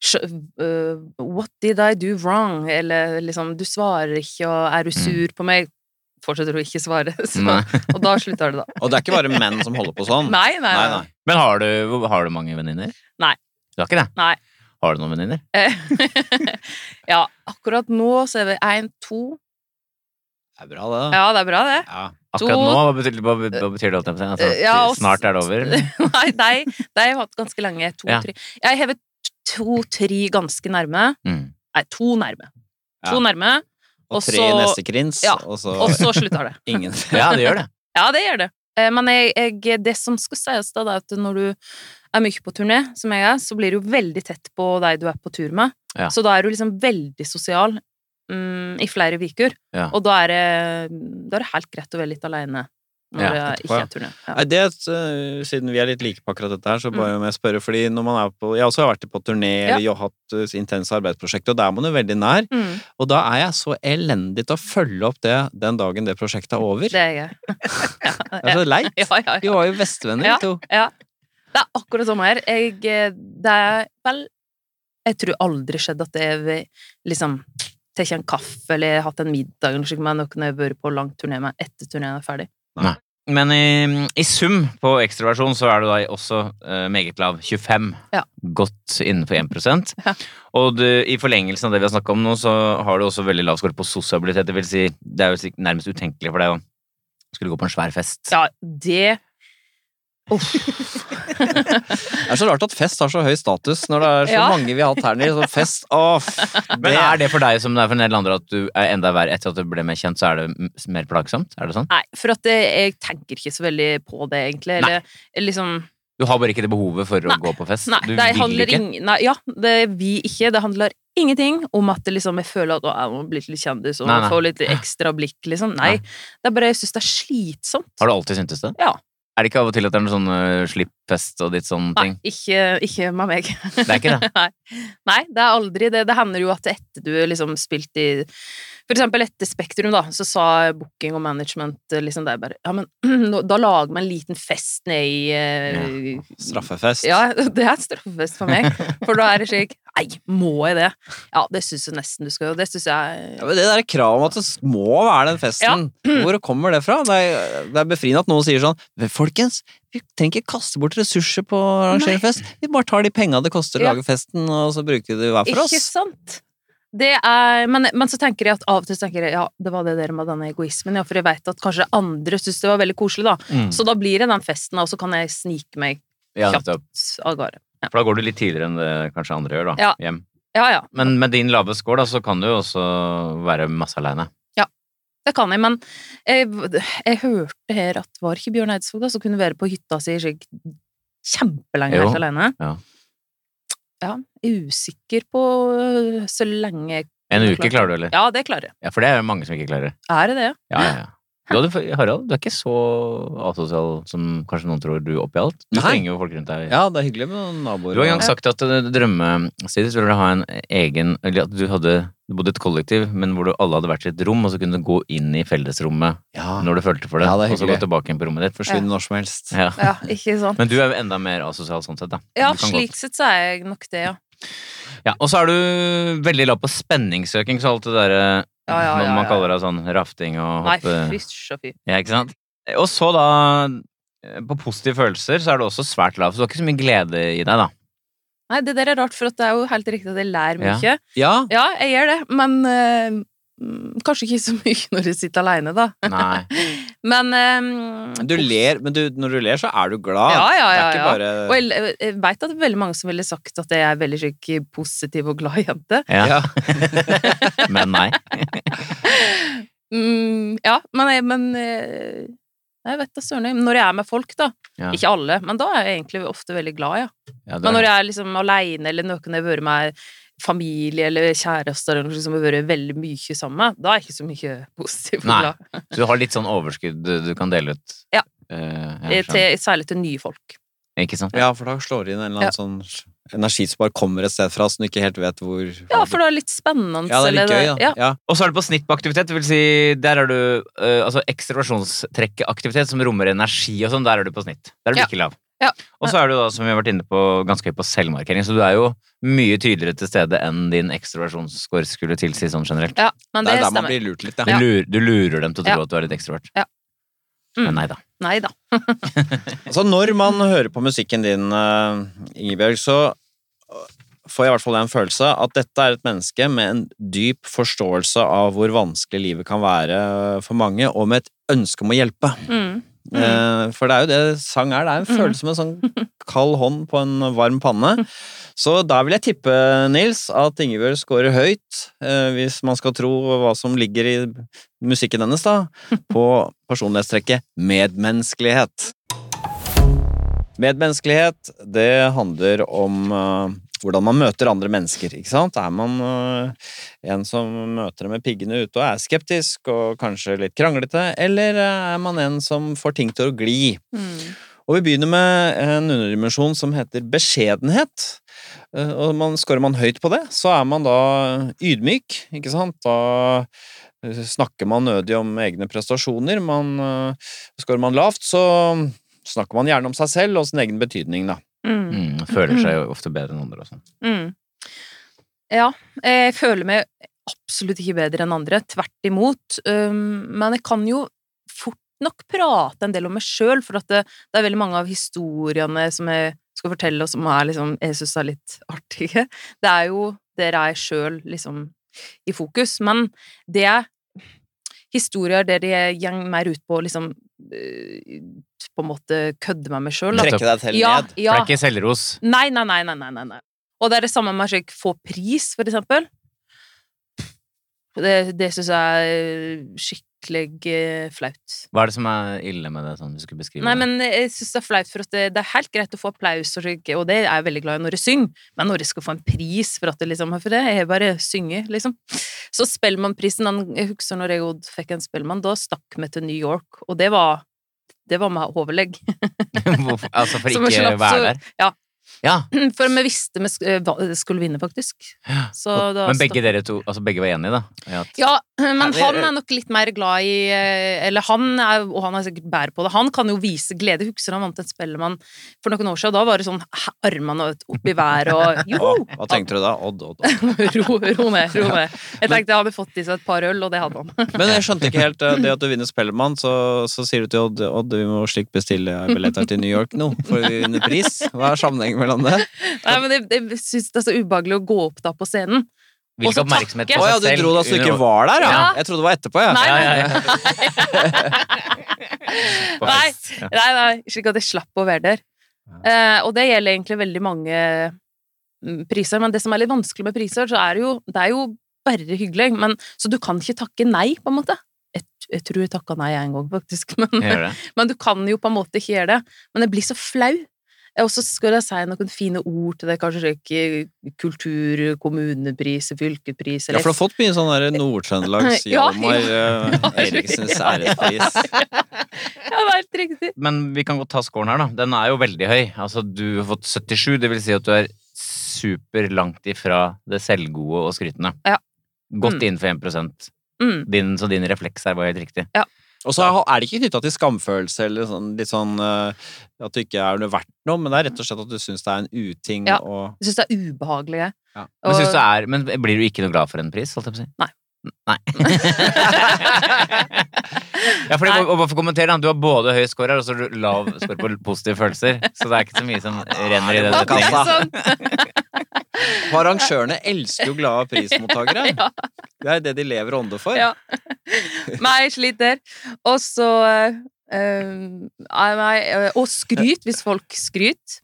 Speaker 1: Skjø- øh, What did I do wrong? Eller liksom Du svarer ikke, og er du sur på meg? Fortsetter å ikke svare. [LAUGHS] Så,
Speaker 3: Nei.
Speaker 1: og da slutter det, da.
Speaker 2: Og det er ikke bare menn som holder på sånn.
Speaker 1: Nei, nei, nei.
Speaker 2: nei.
Speaker 3: Men har du, har du mange venninner?
Speaker 1: Nei.
Speaker 3: Du har ikke det?
Speaker 1: Nei.
Speaker 3: Har du noen venninner?
Speaker 1: Eh, [LAUGHS] ja, akkurat nå så er vi én, to
Speaker 2: Det er bra, det. da.
Speaker 1: Ja, det er bra, det. [LAUGHS]
Speaker 2: Ja.
Speaker 3: Akkurat
Speaker 1: To.
Speaker 3: nå? Hva betyr, hva, hva betyr det? holdt jeg på å si? Altså,
Speaker 1: Eh, ja, og-
Speaker 3: snart er det over?
Speaker 1: [LAUGHS]
Speaker 3: eller?
Speaker 1: Nei, de, de har hatt ganske lenge. To,
Speaker 3: Ja.
Speaker 1: tre. Jeg hevet to-tre ganske nærme.
Speaker 3: Mm.
Speaker 1: Nei, to nærme. To
Speaker 2: Ja.
Speaker 1: nærme,
Speaker 2: Og
Speaker 1: Og
Speaker 2: tre
Speaker 1: så-
Speaker 2: i neste krins,
Speaker 1: Ja.
Speaker 2: og så
Speaker 1: og så slutter det.
Speaker 2: ingen.
Speaker 3: Ja, det gjør det.
Speaker 1: Ja, det gjør det. Eh, Men jeg, jeg, det som skulle sies da, det er at når du er mye på turné, som jeg er, så blir du jo veldig tett på deg du er på tur med.
Speaker 3: Ja.
Speaker 1: Så da er du liksom veldig sosial mm, i flere uker.
Speaker 3: Ja.
Speaker 1: Og da er, det, da er det helt greit å være litt aleine når
Speaker 3: Ja,
Speaker 1: det
Speaker 2: etterpå,
Speaker 1: ikke
Speaker 2: ja.
Speaker 1: er turné. Ja.
Speaker 2: Nei, det, eh, siden vi er litt like på akkurat dette her, så bare må jeg spørre, fordi når man er på Jeg også har vært på turné
Speaker 1: Mm. Ja.
Speaker 2: eller jeg har hatt eh, intense arbeidsprosjekter, og der er man jo veldig nær.
Speaker 1: Mm,
Speaker 2: Og da er jeg så elendig til å følge opp det den dagen det prosjektet er over.
Speaker 1: det er jeg. ja,
Speaker 2: Det er så leit.
Speaker 1: [LAUGHS] ja, ja,
Speaker 2: Vi
Speaker 1: ja.
Speaker 2: var jo bestevenner,
Speaker 1: Ja.
Speaker 2: vi to.
Speaker 1: Det er akkurat sånn her. Jeg, eh, det er vel Jeg tror aldri skjedd at jeg vil liksom tatt en kaffe eller hatt en middag eller noe slikt med noen jeg har vært på lang turné med etter turneen er ferdig.
Speaker 3: Men i, i sum på ekstroversjon så er du da også eh, meget lav. 25.
Speaker 1: Ja.
Speaker 3: Godt innenfor 1 Og du, i forlengelsen av det vi har snakka om nå, så har du også veldig lav score på sosialitet. Det vil si, det er jo sik- nærmest utenkelig for deg å skulle gå på en svær fest.
Speaker 1: Ja, det Uff.
Speaker 2: Det er så rart at fest har så høy status når det er så
Speaker 1: Ja.
Speaker 2: mange vi har hatt her nede. Så fest Åh,
Speaker 3: Men
Speaker 2: det
Speaker 3: er det for deg som det er for en del andre at du er enda verre etter at du ble mer kjent, så er det m- mer plagsomt? Er det sånn?
Speaker 1: Nei, for at det, jeg tenker ikke så veldig på det, egentlig. Eller liksom
Speaker 3: Du har bare ikke det behovet for å
Speaker 1: Nei.
Speaker 3: gå på fest?
Speaker 1: Nei,
Speaker 3: du
Speaker 1: det handler ingen Nei, ja, det vil ikke. Det handler ingenting om at det liksom, jeg føler at å, jeg må bli litt kjendis og
Speaker 3: Nei, nei.
Speaker 1: få litt ekstra blikk, liksom. Nei. Det er bare jeg syns det er slitsomt.
Speaker 3: Har du alltid syntes det?
Speaker 1: Ja.
Speaker 3: Er det ikke av og til at det er noe sånn uh, slippfest og ditt sånne
Speaker 1: Nei,
Speaker 3: ting?
Speaker 1: ikke, ikke med meg.
Speaker 3: Det er ikke det?
Speaker 1: [LAUGHS] Nei. Nei, det er aldri det. Det hender jo at etter du liksom spilt i For eksempel etter Spektrum, da, så sa booking og management eh, liksom der bare Ja, men [CLEARS THROAT] nå- da lager vi en liten fest ned i eh,
Speaker 2: Straffefest.
Speaker 1: Ja, [LAUGHS] det er straffefest for meg. For da er det slik Nei, må jeg det? Ja, det syns jeg nesten du skal gjøre. Det syns
Speaker 2: Ja,
Speaker 1: jeg
Speaker 2: men det der kravet om at det må være den festen,
Speaker 1: [CLEARS THROAT]
Speaker 2: hvor kommer det fra? Det er, det er befriende at noen sier sånn «Men Folkens, vi trenger ikke kaste bort ressurser på å arrangere fest. Vi bare tar de penga det koster å
Speaker 1: Ja.
Speaker 2: lage festen, og så bruker vi det hver for
Speaker 1: Ikke
Speaker 2: oss.
Speaker 1: sant? Det er, men, men så tenker jeg at av og til så tenker jeg ja, det var det der med denne egoismen, ja, for jeg veit at kanskje andre syns det var veldig koselig, da.
Speaker 3: Mm.
Speaker 1: Så da blir det den festen, og så kan jeg snike meg
Speaker 3: Ja,
Speaker 1: kjapt
Speaker 3: nettopp.
Speaker 1: av gårde.
Speaker 3: For da går du litt tidligere enn det kanskje andre gjør, da.
Speaker 1: Ja.
Speaker 3: Hjem.
Speaker 1: Ja, ja,
Speaker 3: Men med din lave score, da, så kan du jo også være masse aleine.
Speaker 1: det kan jeg, men jeg, jeg hørte her at var ikke Bjørn Eidsvåg da, som kunne være på hytta si slik kjempelenge
Speaker 3: Jo,
Speaker 1: helt alene?
Speaker 3: ja.
Speaker 1: Ja, jeg er usikker på øh, så lenge jeg
Speaker 3: En
Speaker 1: Det er
Speaker 3: uke
Speaker 1: klart.
Speaker 3: klarer du, eller?
Speaker 1: Ja, det klarer jeg.
Speaker 3: Ja, for det er jo mange som ikke klarer.
Speaker 1: Er det det?
Speaker 3: Ja, ja, ja. Du hadde, Harald, du er ikke så asosial som kanskje noen tror du oppi alt. Du
Speaker 2: Nei.
Speaker 3: trenger jo folk rundt deg.
Speaker 2: Ja, det er hyggelig med noen
Speaker 3: Du
Speaker 2: naboer.
Speaker 3: har en gang
Speaker 2: og-
Speaker 3: sagt at eh, drømmesiden så ville du ha en egen Eller at du hadde du bodde i et kollektiv, men hvor du alle hadde hvert sitt rom, og så kunne du gå inn i fellesrommet
Speaker 2: ja,
Speaker 1: Ah.
Speaker 3: når du følte for det,
Speaker 2: Ja, det er
Speaker 3: og så gå
Speaker 2: hyggelig.
Speaker 3: tilbake inn på rommet ditt.
Speaker 2: Forsvinn når som helst.
Speaker 3: Ja.
Speaker 1: Ja, ikke sant?
Speaker 3: Men du er jo enda mer asosial sånn sett, da.
Speaker 1: Ja,
Speaker 3: Du kan godt-
Speaker 1: slik sett så er jeg nok det, ja.
Speaker 3: Ja, og så er du veldig lav på spenningssøking, så alt det derre
Speaker 1: Ja, ja, ja,
Speaker 3: Når man
Speaker 1: ja.
Speaker 3: kaller det sånn rafting og
Speaker 1: Nei,
Speaker 3: hoppe
Speaker 1: fysj og fy.
Speaker 3: Ja, ikke sant? Og så da eh, på positive følelser så er du også svært lav, så du har ikke så mye glede
Speaker 1: [LAUGHS]
Speaker 3: i deg, da.
Speaker 1: Nei, det der er rart, for at det er jo helt riktig at jeg lærer
Speaker 3: Ja.
Speaker 1: mye.
Speaker 2: Ja,
Speaker 1: Ja, jeg gjør det, men eh, mm, kanskje ikke så mye [LAUGHS] når jeg sitter alene, da.
Speaker 3: Nei.
Speaker 1: Men eh,
Speaker 2: du ler, men du, når du ler, så er du glad.
Speaker 1: Ja, ja, ja, ja.
Speaker 2: det er ikke bare
Speaker 1: Og jeg, jeg veit at det er veldig mange som ville sagt at jeg er veldig slik positiv og glad [LAUGHS] jente.
Speaker 3: Ja.
Speaker 2: Ja.
Speaker 3: Men nei.
Speaker 1: Mm, ja, men jeg, men eh, jeg vet da søren. jeg. Når jeg er med folk, da.
Speaker 3: Ja.
Speaker 1: Ikke alle, men da er jeg egentlig ofte veldig glad, ja.
Speaker 3: Ja, du
Speaker 1: Men
Speaker 3: er-
Speaker 1: når jeg er liksom aleine eller noen jeg har vært med familie eller kjærester eller noe som jeg har vært veldig mye sammen med, da er jeg ikke så mye [LAUGHS] positiv og
Speaker 3: Nei.
Speaker 1: glad.
Speaker 3: Så du har litt sånn overskudd du, du kan dele ut.
Speaker 1: Ja.
Speaker 3: Eh,
Speaker 1: Eh,
Speaker 3: jeg skjønner.
Speaker 1: Til, særlig til nye folk.
Speaker 3: Ikke sant?
Speaker 2: ja, for da slår det inn en eller annen sånn energi som bare kommer et sted fra, som du ikke helt vet hvor
Speaker 1: Ja, for det er litt spennende.
Speaker 2: Ja, det er litt
Speaker 1: eller
Speaker 2: gøy, da.
Speaker 1: Ja,
Speaker 2: Ja.
Speaker 3: Og så er det på snitt på aktivitet. Det vil si, der er du eh, Altså ekstroversjonstrekket aktivitet som rommer energi og sånn, der er du på snitt. Der er du
Speaker 1: Ja.
Speaker 3: ikke lav.
Speaker 1: Ja.
Speaker 3: Og så er du da, som vi har vært inne på, ganske høy på selvmarkering, så du er jo mye tydeligere til stede enn din ekstroversjonsscore skulle tilsi sånn generelt.
Speaker 1: Ja, men
Speaker 2: Det
Speaker 1: det,
Speaker 2: er der man
Speaker 1: stemmer.
Speaker 2: blir lurt litt,
Speaker 3: Du,
Speaker 2: ja.
Speaker 3: lurer, du lurer dem til å tro
Speaker 1: Ja.
Speaker 3: at du er litt ekstrovert.
Speaker 1: Ja. Mm.
Speaker 3: Men nei da.
Speaker 1: Nei da.
Speaker 2: Altså, når man hører på musikken din, eh, Ingebjørg, så får jeg i hvert fall en følelse at dette er et menneske med en dyp forståelse av hvor vanskelig livet kan være for mange, og med et ønske om å hjelpe.
Speaker 1: Mm.
Speaker 2: Eh, For det er jo det sang er. Det er en
Speaker 1: Mm.
Speaker 2: følelse med en
Speaker 1: [LAUGHS]
Speaker 2: sånn kald hånd på en varm panne. Så der vil jeg tippe, Nils, at Ingebjørg scorer høyt, eh, hvis man skal tro hva som ligger i musikken
Speaker 1: [LAUGHS]
Speaker 2: hennes, da, på personlighetstrekket medmenneskelighet. Medmenneskelighet, det handler om eh, hvordan man møter andre mennesker, ikke sant? Er man eh, en som møter dem med piggene ute og er skeptisk og kanskje litt kranglete, eller er man en som får ting til å gli?
Speaker 1: Mm.
Speaker 2: Og vi begynner med en underdimensjon som heter beskjedenhet. Eh, Og man, scorer man høyt på det, så er man da ydmyk, ikke sant? Da eh, snakker man nødig om egne prestasjoner. Man, eh, scorer man lavt, så snakker man gjerne om seg selv og sin egen betydning, da.
Speaker 1: Mm.
Speaker 3: Mm, føler seg jo ofte bedre enn andre og sånn.
Speaker 1: Mm. Ja, jeg føler meg absolutt ikke bedre enn andre, tvert imot. Um, men jeg kan jo fort nok prate en del om meg sjøl, for at det, det er veldig mange av historiene som jeg skal fortelle, og som er liksom, jeg syns er litt artige. Det er jo der er jeg sjøl liksom i fokus. Men det er historier der jeg går mer ut på å liksom øh, på en måte kødde med meg sjøl.
Speaker 3: Nettopp.
Speaker 2: Trekke deg selv
Speaker 1: Ja,
Speaker 2: ned.
Speaker 3: For
Speaker 1: ja.
Speaker 3: det er ikke selvros.
Speaker 1: Nei, nei, nei, nei, nei, nei, nei. Og det er det samme med slik få pris, for eksempel. Det, det syns jeg er skikkelig eh, flaut.
Speaker 3: Hva er det som er ille med det, sånn hvis du skulle beskrive
Speaker 1: Nei,
Speaker 3: det?
Speaker 1: men jeg syns det er flaut, for at det, det er helt greit å få applaus, og, slik, og det er jeg veldig glad i når jeg synger, men når jeg skal få en pris for at det liksom For det er bare synge, liksom. Så Spellemannprisen, han- jeg husker når jeg Odd fikk en Spellemann, da stakk vi til New York, og det var det var med overlegg. [LAUGHS]
Speaker 3: [LAUGHS] Hvorfor- altså for
Speaker 1: Som en
Speaker 3: ikke
Speaker 1: slapp,
Speaker 3: å være
Speaker 1: så-
Speaker 3: der?
Speaker 1: ja.
Speaker 3: Ja,
Speaker 1: For vi visste vi sk- eh, hva- skulle vinne, faktisk. Så da
Speaker 3: Men
Speaker 1: stakk-
Speaker 3: begge dere to, altså begge var enige, da? i at-
Speaker 1: Ja, men
Speaker 2: det-
Speaker 1: han er nok litt mer glad i eh, Eller han er, og han er sikkert bærer på det. Han kan jo vise glede. Husker han vant en Spellemann for noen år siden. Da var det sånn hæ, armene opp i været
Speaker 3: [LAUGHS]
Speaker 1: og jo! [LAUGHS]
Speaker 2: Å, hva tenkte du da? Odd, odd, odd.
Speaker 1: ro, ro ned, ro ned. Jeg tenkte jeg hadde fått i seg et par øl, og det hadde han.
Speaker 2: Men jeg skjønte ikke helt eh, det at du vinner Spellemann, så, så sier du til Odd Odd, vi må slik bestille billetter til New York nå, for vi vinner pris. Hva er sammenhengen mellom det?
Speaker 1: Nei, men jeg, jeg syns det er så ubehagelig å gå opp da på scenen. Og
Speaker 3: Hvilken
Speaker 1: så
Speaker 3: oppmerksomhet
Speaker 1: takke.
Speaker 2: Å ja, du dro da så du ikke var der, ja?
Speaker 1: Ja.
Speaker 2: Jeg trodde det var etterpå, ja.
Speaker 1: Nei,
Speaker 3: Ja, ja,
Speaker 1: nei, [LAUGHS]
Speaker 3: ja. [LAUGHS] På
Speaker 1: Nei.
Speaker 3: fest, ja.
Speaker 1: Nei, nei, slik at jeg slapp å være der. Eh, og det gjelder egentlig veldig mange mm, priser, men det som er litt vanskelig med priser, så er det jo, det er jo bare hyggelig, men, så du kan ikke takke nei, på en måte. Jeg, jeg tror jeg takka nei en gang, faktisk, [LAUGHS] men,
Speaker 3: Gjør det.
Speaker 1: men du kan jo på en måte ikke gjøre det. Men jeg blir så flau. Eh, Og så skal jeg si noen fine ord til deg, kanskje ikke kultur, kommunepris, fylkepris
Speaker 2: Ja,
Speaker 1: eller
Speaker 2: for du har fått mye sånn der Nord-Trøndelags
Speaker 1: Ja,
Speaker 2: Hjalmar eh,
Speaker 1: ja.
Speaker 2: Eriksens ærespris.
Speaker 1: [LAUGHS] Ja, det er helt riktig.
Speaker 3: Men vi kan godt ta scoren her, da. Den er jo veldig høy. Altså, du har fått 77, det vil si at du er superlangt ifra det selvgode og skrytende.
Speaker 1: Ja.
Speaker 3: Godt
Speaker 1: Mm.
Speaker 3: innenfor 1
Speaker 1: Mm.
Speaker 3: din, Så din refleks her var helt riktig.
Speaker 2: Og så er det ikke knytta til skamfølelse eller sånn, litt sånn eh, at du ikke er noe verdt noe, men det er rett og slett at du syns det er en uting
Speaker 1: Ja.
Speaker 2: og
Speaker 1: Jeg syns det er ubehagelig, jeg.
Speaker 2: ja.
Speaker 3: Men,
Speaker 1: Og-
Speaker 3: synes du er, men blir du ikke noe glad for en pris, holdt jeg på å si?
Speaker 1: Nei. [LAUGHS]
Speaker 3: Nei. [LAUGHS] ja, for det, og bare for å kommentere, da, du har både høy score her og så har du lav score på positive følelser. Så det er ikke så mye som renner i det.
Speaker 1: Ja,
Speaker 2: det kan
Speaker 1: ikke
Speaker 2: jeg.
Speaker 3: retningen.
Speaker 1: sant?
Speaker 2: Og Arrangørene elsker jo glade prismottakere.
Speaker 1: [LAUGHS] Ja.
Speaker 2: Det er det de lever og ånder for.
Speaker 1: Ja. [LAUGHS] Nei, jeg sliter. Og så eh, Nei, nei eh, Og skryt, hvis folk skryter.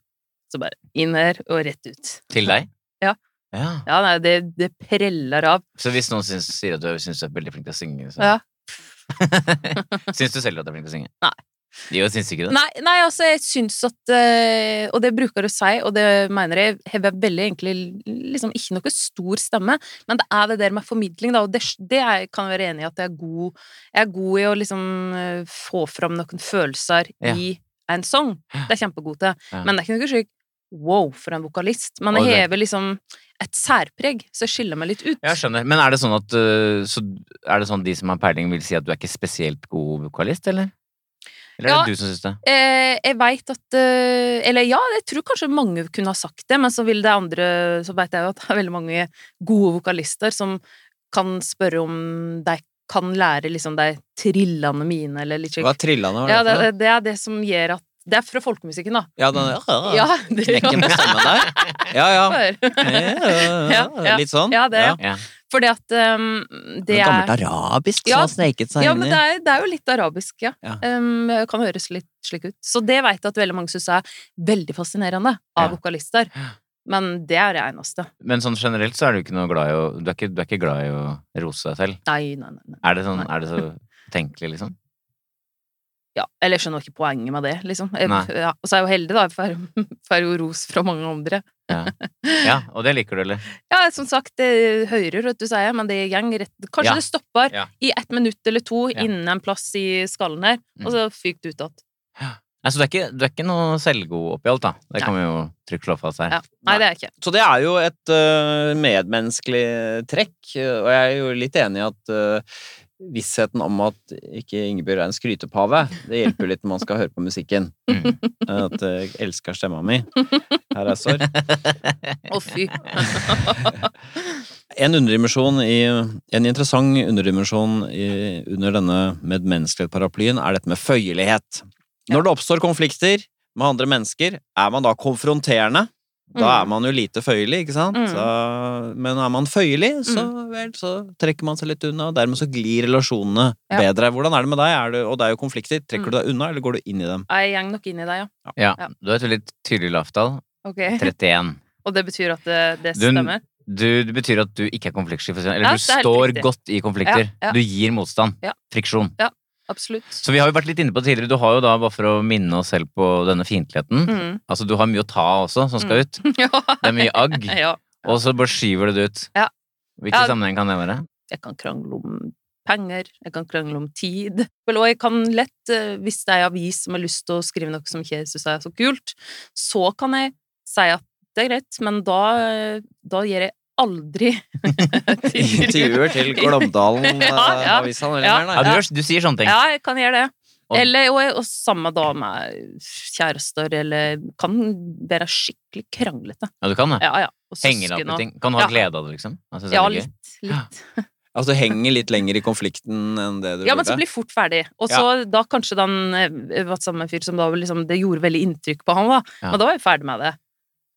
Speaker 1: Så bare inn her og rett ut.
Speaker 3: Til deg?
Speaker 1: Ja.
Speaker 3: ja.
Speaker 1: Ja, nei, det, det preller av.
Speaker 3: Så hvis noen syns, sier at du syns du er veldig flink til å synge, så
Speaker 1: Ja.
Speaker 3: [LAUGHS] Syns du selv at du er flink til å synge?
Speaker 1: Nei.
Speaker 3: Jo, syns ikke det.
Speaker 1: Nei, nei, altså, jeg syns at eh, Og det bruker å si, og det mener jeg, jeg har veldig egentlig liksom ikke noe stor stemme, men det er det der med formidling, da, og det, det er, kan jeg være enig i at jeg er god Jeg er god i å liksom eh, få fram noen følelser
Speaker 3: Ja.
Speaker 1: i en sang. Det er jeg kjempegod til.
Speaker 3: Ja.
Speaker 1: Men det er ikke noe slik Wow, for en vokalist. Men
Speaker 3: Og
Speaker 1: jeg
Speaker 3: det-
Speaker 1: hever liksom et særpreg, så jeg skiller meg litt ut.
Speaker 3: Jeg skjønner. Men er det sånn at øh, så, er det sånn de som har peiling, vil si at du er ikke spesielt god vokalist, eller? Eller er det du som syns det?
Speaker 1: Eh, jeg veit at eh, Eller ja, jeg tror kanskje mange kunne ha sagt det, men så vil det andre Så veit jeg jo at det er veldig mange gode vokalister som kan spørre om de kan lære liksom de trillene mine, eller litt
Speaker 2: Hva
Speaker 1: slik.
Speaker 2: trillende var det
Speaker 1: Ja, det,
Speaker 2: for noe?
Speaker 1: det- det er det som gjør at Det er fra folkemusikken, da.
Speaker 2: Ja, den
Speaker 1: Ja, [LAUGHS] det,
Speaker 2: Ah, knekken på stemmen der. Ja, ja.
Speaker 1: Ja, ja.
Speaker 2: Litt sånn.
Speaker 1: Ja, det, ja.
Speaker 3: Ja.
Speaker 1: Fordi at ehm, det
Speaker 2: Det er gammelt
Speaker 1: er
Speaker 2: arabisk som
Speaker 1: Ja.
Speaker 2: har sneket seg
Speaker 1: ja,
Speaker 2: inn
Speaker 1: men
Speaker 2: i.
Speaker 1: det er, det er jo litt arabisk, ja.
Speaker 2: Ja.
Speaker 1: Ehm, kan høres litt slik ut. Så det veit jeg at veldig mange syns er veldig fascinerende av
Speaker 3: Ja.
Speaker 1: vokalister. Men det er det eneste.
Speaker 3: Men sånn generelt så er du ikke noe glad i å Du er ikke, du er ikke glad i å rose deg selv.
Speaker 1: Nei, nei, nei. nei.
Speaker 3: Er det sånn Er det så
Speaker 1: [LAUGHS]
Speaker 3: tenkelig, liksom?
Speaker 1: Ja, eller jeg skjønner ikke poenget med det, liksom. Jeg,
Speaker 3: Nei.
Speaker 1: ja, og så er jeg jo heldig, da. Jeg får- [LAUGHS] får jo ros fra mange andre.
Speaker 3: Ja, og det liker du, eller?
Speaker 1: Ja, som sagt, det hører vet du, sier jeg, men det gjeng rett Kanskje
Speaker 3: Ja.
Speaker 1: det stopper
Speaker 3: Ja.
Speaker 1: i ett minutt eller to
Speaker 3: Ja. Mm.
Speaker 1: innen en plass i skallen her, og så fyker det ut igjen.
Speaker 3: Nei, så du Altså, er ikke, du er ikke noe selvgod oppi alt, da. Det kan vi jo trygt slå fast her.
Speaker 1: Ja. Nei, det er jeg ikke.
Speaker 2: Så det er jo et øh, medmenneskelig trekk, øh, og jeg er jo litt enig i at øh, vissheten om at ikke Ingebjørg er en skrytepave, det hjelper jo litt når man skal høre på
Speaker 1: [LAUGHS]
Speaker 2: musikken.
Speaker 3: Mm.
Speaker 2: At jeg elsker stemma mi. Her er sorg.
Speaker 1: Å,
Speaker 3: [LAUGHS]
Speaker 1: fy.
Speaker 2: En underdimensjon i En interessant underdimensjon i, under denne medmenneskelig-paraplyen er dette med føyelighet. Når det oppstår konflikter med andre mennesker, er man da konfronterende? Da
Speaker 1: Mm.
Speaker 2: er man jo lite føyelig, ikke sant?
Speaker 1: Mm.
Speaker 2: Da- men er man føyelig, så vel, så trekker man seg litt unna, og dermed så glir relasjonene
Speaker 1: Ja.
Speaker 2: bedre. Hvordan er det med deg? Er det, og det er jo konflikter. Trekker
Speaker 1: Mm.
Speaker 2: du deg unna, eller går du inn
Speaker 1: [LAUGHS]
Speaker 2: i dem?
Speaker 1: Jeg gjeng nok inn i deg, ja.
Speaker 3: Ja.
Speaker 1: Ja.
Speaker 3: Du har et veldig tydelig lavtall.
Speaker 1: Ok.
Speaker 3: 31.
Speaker 1: Og det betyr at det, det
Speaker 3: Du-
Speaker 1: stemmer?
Speaker 3: Du, det betyr at du ikke er konfliktsky, for å si
Speaker 1: Ja,
Speaker 3: det. Eller du
Speaker 1: det er helt
Speaker 3: står
Speaker 1: riktig.
Speaker 3: godt i konflikter.
Speaker 1: Ja, ja.
Speaker 3: Du gir motstand.
Speaker 1: Ja.
Speaker 3: Friksjon.
Speaker 1: Absolutt.
Speaker 3: Så vi har jo vært litt inne på det tidligere. Du har jo da, bare for å minne oss selv på denne fiendtligheten
Speaker 1: Mm. [LAUGHS]
Speaker 3: Altså, du har mye å ta også, som skal ut.
Speaker 1: Ja.
Speaker 3: Det
Speaker 1: [LAUGHS]
Speaker 3: er mye agg.
Speaker 1: Mhm. ja.
Speaker 3: Og så bare skyver du det ut.
Speaker 1: Ja.
Speaker 3: Hvilken
Speaker 1: Ja.
Speaker 3: sammenheng kan det være?
Speaker 1: Jeg kan krangle om penger, jeg kan krangle om tid. Vel, og jeg kan lett, eh, hvis det er en avis som har lyst til å skrive noe som ikke jeg syns er så kult, så kan jeg si at det er greit, men da, eh, da gir jeg
Speaker 3: [LAUGHS]
Speaker 1: aldri [LAUGHS]
Speaker 2: Intervjuer til Glåmdalen eh,
Speaker 1: Ja, ja.
Speaker 2: avisa eller
Speaker 1: Ja.
Speaker 2: mer,
Speaker 3: Ja,
Speaker 2: nei.
Speaker 3: du, gjør- du sier sånne ting.
Speaker 1: [LAUGHS] Ja, jeg kan gjøre det.
Speaker 3: Og-
Speaker 1: Eller, og, og samme da med kjærester, eller kan være skikkelig kranglete.
Speaker 3: Ja, du kan det.
Speaker 1: Ja, ja. Og
Speaker 3: Henger deg
Speaker 1: søsken
Speaker 3: opp i
Speaker 1: og-
Speaker 3: ting. Kan du ha
Speaker 1: Ja.
Speaker 3: glede av det, liksom? Jeg synes det er
Speaker 1: Ja,
Speaker 3: gøy.
Speaker 1: litt. litt.
Speaker 2: Altså henger litt lenger i konflikten enn det du
Speaker 1: Ja, men
Speaker 2: burde.
Speaker 1: så blir fort ferdig. Og så da kanskje den eh, var sammen med en fyr som da liksom, det gjorde veldig inntrykk på han, da.
Speaker 3: Ja.
Speaker 1: Men da var jeg ferdig med det.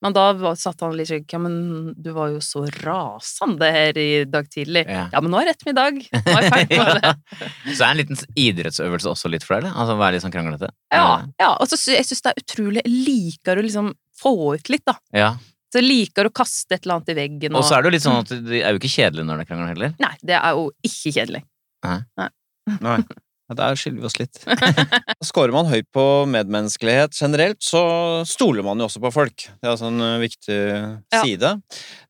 Speaker 1: Men da var, satt han litt sånn Ja, men du var jo så rasende her i dag tidlig.
Speaker 3: Ja.
Speaker 1: Ja, men nå er rett middag. Nå er jeg ferdig
Speaker 3: [LAUGHS]
Speaker 1: med det.
Speaker 3: Så er en liten idrettsøvelse også litt for deg, eller? Altså være litt sånn kranglete?
Speaker 1: Ja. ja. Og så sy- jeg syns det er utrolig Jeg liker å liksom få ut litt, da.
Speaker 3: ja.
Speaker 1: Så jeg liker å kaste et eller annet i veggen
Speaker 3: Og
Speaker 1: og
Speaker 3: så er det jo litt sånn at de er jo ikke kjedelige når de krangler heller.
Speaker 1: Nei, det er jo ikke kjedelig.
Speaker 2: Nei. Ja, der skiller vi oss [LAUGHS] litt. Skårer man høyt på medmenneskelighet generelt, så stoler man jo også på folk. Det er altså en ø, viktig
Speaker 1: Ja.
Speaker 2: side.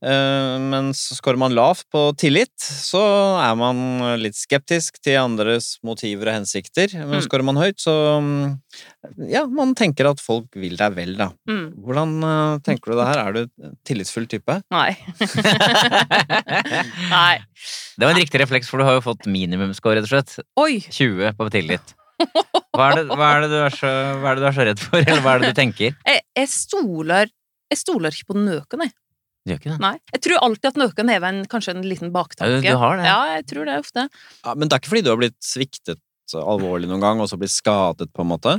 Speaker 2: Eh, Mens skårer man lavt på tillit, så er man ø, litt skeptisk til andres motiver og hensikter. Men
Speaker 1: Mm.
Speaker 2: skårer man høyt, så mm, Ja, man tenker at folk vil deg vel, da.
Speaker 1: Mm.
Speaker 2: Hvordan ø, tenker du det her? Er du en tillitsfull type?
Speaker 1: Nei.
Speaker 3: det
Speaker 1: [LAUGHS] Nei.
Speaker 3: var en riktig refleks, for du har jo fått minimumscore, rett og slett.
Speaker 1: Oi!
Speaker 3: 20 på tillit. Hva er, det, hva, er det du er så, hva er det du er så redd for, eller hva er det du tenker?
Speaker 1: Jeg, jeg stoler Jeg stoler ikke på nøken, jeg.
Speaker 3: Du gjør ikke det?
Speaker 1: Nei. Jeg tror alltid at nøken hever en, kanskje en liten
Speaker 3: Ja,
Speaker 1: baktanke.
Speaker 3: du, du har det.
Speaker 1: Ja, jeg tror det ofte.
Speaker 2: Ja, men det er ikke fordi du har blitt sviktet alvorlig noen gang, og så blitt skadet, på en måte?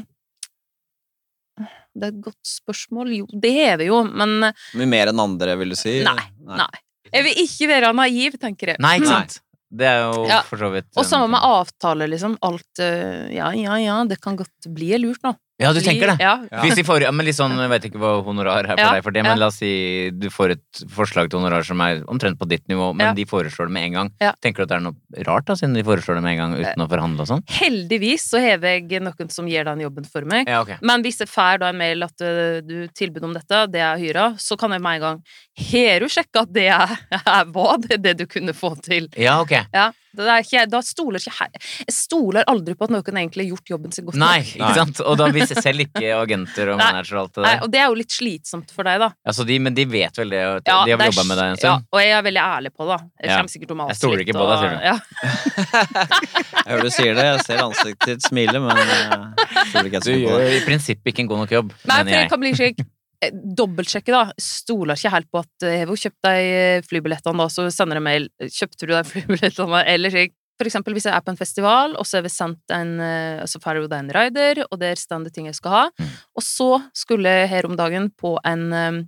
Speaker 1: Det er et godt spørsmål. Jo, det hever jo, men eh,
Speaker 2: Mye mer enn andre, vil du si?
Speaker 1: Nei. nei. Jeg vil ikke være naiv, tenker jeg.
Speaker 3: Nei, ikke sant? Det er jo
Speaker 1: Ja.
Speaker 3: for så vidt
Speaker 1: [CLEARS THROAT] Og samme med avtaler, liksom. Alt eh, Ja, ja, ja, det kan godt bli lurt nå.
Speaker 3: Ja, du tenker det?
Speaker 1: Ja.
Speaker 2: Ja.
Speaker 3: Hvis de får, ja, men litt sånn, jeg vet ikke hva honorar er for
Speaker 1: Ja,
Speaker 3: deg for det,
Speaker 1: ja.
Speaker 3: men la oss si du får et forslag til honorar som er omtrent på ditt nivå, men
Speaker 1: Ja.
Speaker 3: de foreslår det med en gang.
Speaker 1: Ja. Eh.
Speaker 3: Tenker du at det er noe rart da, siden de foreslår det med en gang uten å forhandle og sånn?
Speaker 1: Heldigvis så hever jeg noen som gjør den jobben for meg.
Speaker 3: Ja, ok.
Speaker 1: Men hvis jeg får da en mail at eh, du tilbud om dette, det er hyra, så kan jeg med [LAUGHS] en gang Har du sjekka at det er, er hva det, det du kunne få til?
Speaker 3: Ja, ok.
Speaker 1: Ja. Det er ikke, jeg- da stoler ikke jeg Jeg stoler aldri på at noen egentlig har gjort jobben sin godt nok.
Speaker 3: Nei, ikke
Speaker 2: Nei.
Speaker 3: sant? Og da vi selv ikke agenter og
Speaker 1: Nei.
Speaker 3: manager og alt det
Speaker 1: Nei,
Speaker 3: der.
Speaker 1: og det er jo litt slitsomt for deg, da.
Speaker 3: Altså, de, men de vet vel det, og
Speaker 1: Ja,
Speaker 3: de har
Speaker 1: det
Speaker 3: vel
Speaker 1: er
Speaker 3: jobba med deg en
Speaker 1: s- ja,
Speaker 3: stund.
Speaker 1: og jeg er veldig ærlig på det. Jeg
Speaker 3: Ja.
Speaker 1: kommer sikkert til å mase
Speaker 3: Jeg stoler
Speaker 1: litt,
Speaker 3: ikke på deg,
Speaker 1: og-
Speaker 3: sier du.
Speaker 1: Ja.
Speaker 2: Jeg hører du sier det, jeg ser ansiktet ditt smile, men eh, jeg tror ikke jeg
Speaker 3: Du
Speaker 2: skal på
Speaker 3: gjør
Speaker 2: det.
Speaker 3: i prinsippet ikke en god nok jobb,
Speaker 1: Nei, for
Speaker 3: mener
Speaker 1: jeg
Speaker 3: jeg.
Speaker 1: kan bli slik eh, Dobbeltsjekke, da. Stoler ikke helt på at eh, Har hun kjøpt deg eh, flybillettene, da, så sender jeg mail eh, Kjøpte du deg [LAUGHS] flybillettene, eller slik For eksempel hvis jeg er på en festival, og så har vi sendt en eh, Så får jeg da en rider, og der står det ting jeg skal ha.
Speaker 3: Mm.
Speaker 1: Og så skulle jeg her om dagen på en eh,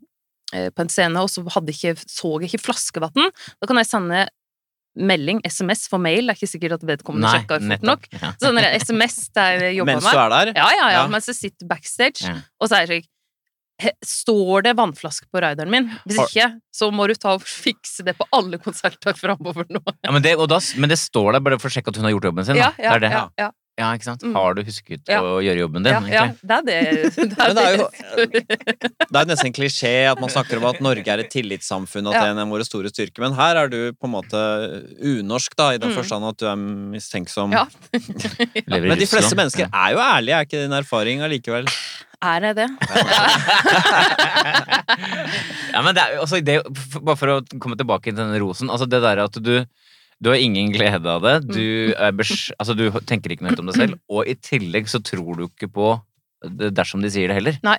Speaker 1: på en scene, og så hadde ikke, så jeg ikke flaskevann. Da kan jeg sende melding, SMS, for mail. Det er ikke sikkert at vedkommende
Speaker 3: Nei,
Speaker 1: sjekker fort nok.
Speaker 3: nettopp. Ja.
Speaker 1: Så sender jeg SMS
Speaker 3: [LAUGHS]
Speaker 1: der jeg jobber
Speaker 2: Mens du er der?
Speaker 1: ja, ja, ja.
Speaker 2: Ja.
Speaker 1: Mens jeg sitter backstage,
Speaker 3: Ja.
Speaker 1: og så er jeg slik «He, Står det vannflaske på rideren min? Hvis
Speaker 2: Har-
Speaker 1: ikke, så må du ta og fikse det på alle konserter framover nå.
Speaker 3: Ja, men, det, og da, s- men det står der bare for å sjekke at hun har gjort jobben sin. Da.
Speaker 1: Ja, ja,
Speaker 3: det er det.
Speaker 1: ja, ja,
Speaker 3: Ja, ikke sant?
Speaker 1: Mm.
Speaker 3: Har du husket
Speaker 1: Ja.
Speaker 3: å gjøre jobben din,
Speaker 1: ja, ja.
Speaker 3: egentlig?
Speaker 1: Det er det. det,
Speaker 2: Men
Speaker 1: er
Speaker 2: det er jo-
Speaker 1: det.
Speaker 2: Det er nesten en klisjé at man snakker om at Norge er et tillitssamfunn, at
Speaker 1: Ja.
Speaker 2: det er en av våre store styrker, men her er du på en måte unorsk, da, i den
Speaker 1: Mm.
Speaker 2: forstand at du er mistenksom.
Speaker 1: Ja.
Speaker 3: Lever i
Speaker 2: Men de fleste
Speaker 3: Russland.
Speaker 2: mennesker er jo ærlige, er ikke din erfaring
Speaker 1: [LAUGHS]
Speaker 2: allikevel?
Speaker 1: Er jeg det?
Speaker 3: ja, men det er, jo- altså, det, er jo- f- bare for å komme tilbake til denne rosen altså Det der at du du har ingen glede av det.
Speaker 1: Mm.
Speaker 3: Du, er bes, altså, du tenker ikke noe høyt om
Speaker 1: [CLEARS THROAT]
Speaker 3: det selv. Og i tillegg så tror du ikke på det dersom de sier det heller.
Speaker 1: Nei.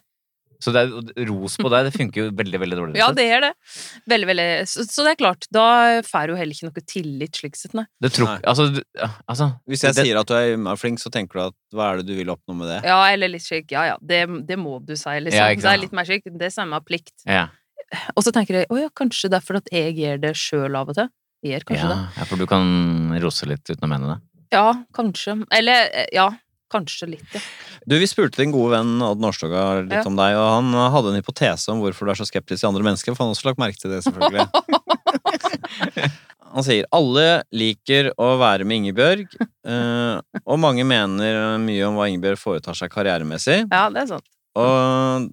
Speaker 3: Så det er, jo- ros på deg, det funker jo veldig veldig dårlig.
Speaker 1: Ja, det er det. Veldig, veldig Så, så det er klart, da får du heller ikke noe tillit slik sett, nei.
Speaker 3: det tror,
Speaker 2: Nei.
Speaker 3: altså, du- ja, altså,
Speaker 2: Hvis jeg
Speaker 3: det,
Speaker 2: sier at du er innmari flink, så tenker du at hva er det du vil oppnå med det?
Speaker 1: Ja, eller litt slik Ja, ja, det, det må du si, liksom.
Speaker 3: Ja, ikke
Speaker 1: det
Speaker 3: sant.
Speaker 1: er litt mer slik Det er samme plikt.
Speaker 3: ja,
Speaker 1: Og så tenker jeg å ja, kanskje det er fordi at jeg gjør det sjøl av og til. Jeg gjør kanskje det.
Speaker 3: ja, ja, for du kan rose litt uten å mene det.
Speaker 1: Ja, kanskje. Eller eh, ja, kanskje litt, ja.
Speaker 2: Du, Vi spurte din gode venn Odd Nordstoga litt
Speaker 1: Ja.
Speaker 2: om deg, og han hadde en hypotese om hvorfor du er så skeptisk til andre mennesker, for han har også lagt merke til det,
Speaker 1: [LAUGHS]
Speaker 2: selvfølgelig. han sier alle liker å være med Ingebjørg, eh, og mange mener mye om hva Ingebjørg foretar seg karrieremessig.
Speaker 1: Ja, det er sant.
Speaker 2: Og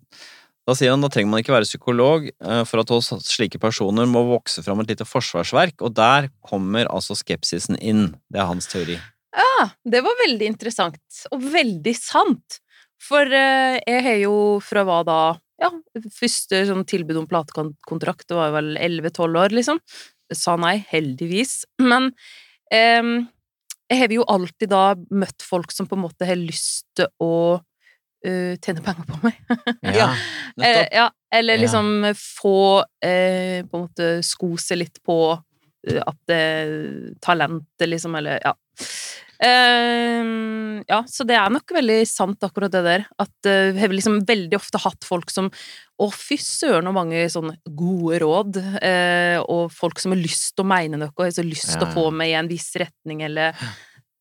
Speaker 2: da sier han da trenger man ikke være psykolog eh, for at hos slike personer må vokse fram et lite forsvarsverk, og der kommer altså skepsisen inn. Det er hans teori.
Speaker 1: Ja, det var veldig interessant, og veldig sant. For eh, jeg har jo fra hva da Ja, første sånn tilbud om platekontrakt, det var vel 11-12 år, liksom. Sa nei, heldigvis. Men em, jeg har jo alltid da møtt folk som på en måte har lyst til å eh, tjene penger på meg. [LAUGHS]
Speaker 2: Ja.
Speaker 1: Eh,
Speaker 2: Nettopp.
Speaker 1: ja, eller
Speaker 3: Ja.
Speaker 1: liksom få eh, på en måte sko seg litt på eh, at det talentet liksom, eller ja. Ehm, ja, så det er nok veldig sant akkurat det der. At eh, vi har liksom veldig ofte hatt folk som Å, fy søren, og mange sånne gode råd. Eh, og folk som har lyst til å mene noe, og har så lyst til
Speaker 3: Ja.
Speaker 1: å få meg i en viss retning, eller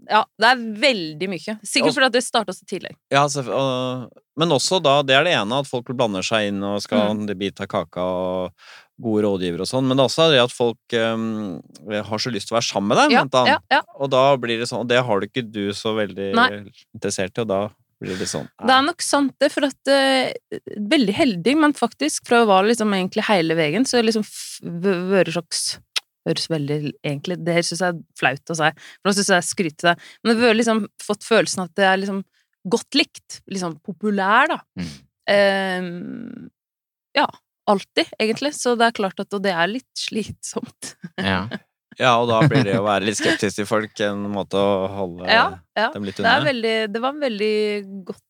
Speaker 1: Ja, det er veldig mye. Sikkert fordi at det starta så tidlig.
Speaker 2: Ja, selvfø- og- men også da, det er det ene, at folk blander seg inn og
Speaker 1: Mm.
Speaker 2: skal ha en bit av kaka og gode rådgivere og sånn, men det er også det at folk eh, har så lyst til å være sammen med deg,
Speaker 1: Ja,
Speaker 2: blant annet.
Speaker 1: ja, ja.
Speaker 2: Og da blir det sånn, og det har du ikke du så veldig
Speaker 1: Nei.
Speaker 2: interessert i, og da blir det sånn.
Speaker 1: Det er nok sant, det, for at eh, Veldig heldig, men faktisk, fra å være liksom egentlig hele veien, så er liksom f- v- vært slags Høres veldig egentlig Det her syns jeg er flaut å si, for da syns jeg jeg skryter deg. Men det har vært liksom fått følelsen at det er liksom godt likt. Liksom populær, da.
Speaker 3: Mm.
Speaker 1: Eh, ja. Alltid, egentlig. Så det er klart at Og det er litt slitsomt.
Speaker 3: Ja.
Speaker 2: Ja, og da blir det å være litt skeptisk til folk en måte å holde
Speaker 1: Ja, ja.
Speaker 2: dem litt
Speaker 1: Det, er
Speaker 2: unna. Det er,
Speaker 1: veldig, det var veldig godt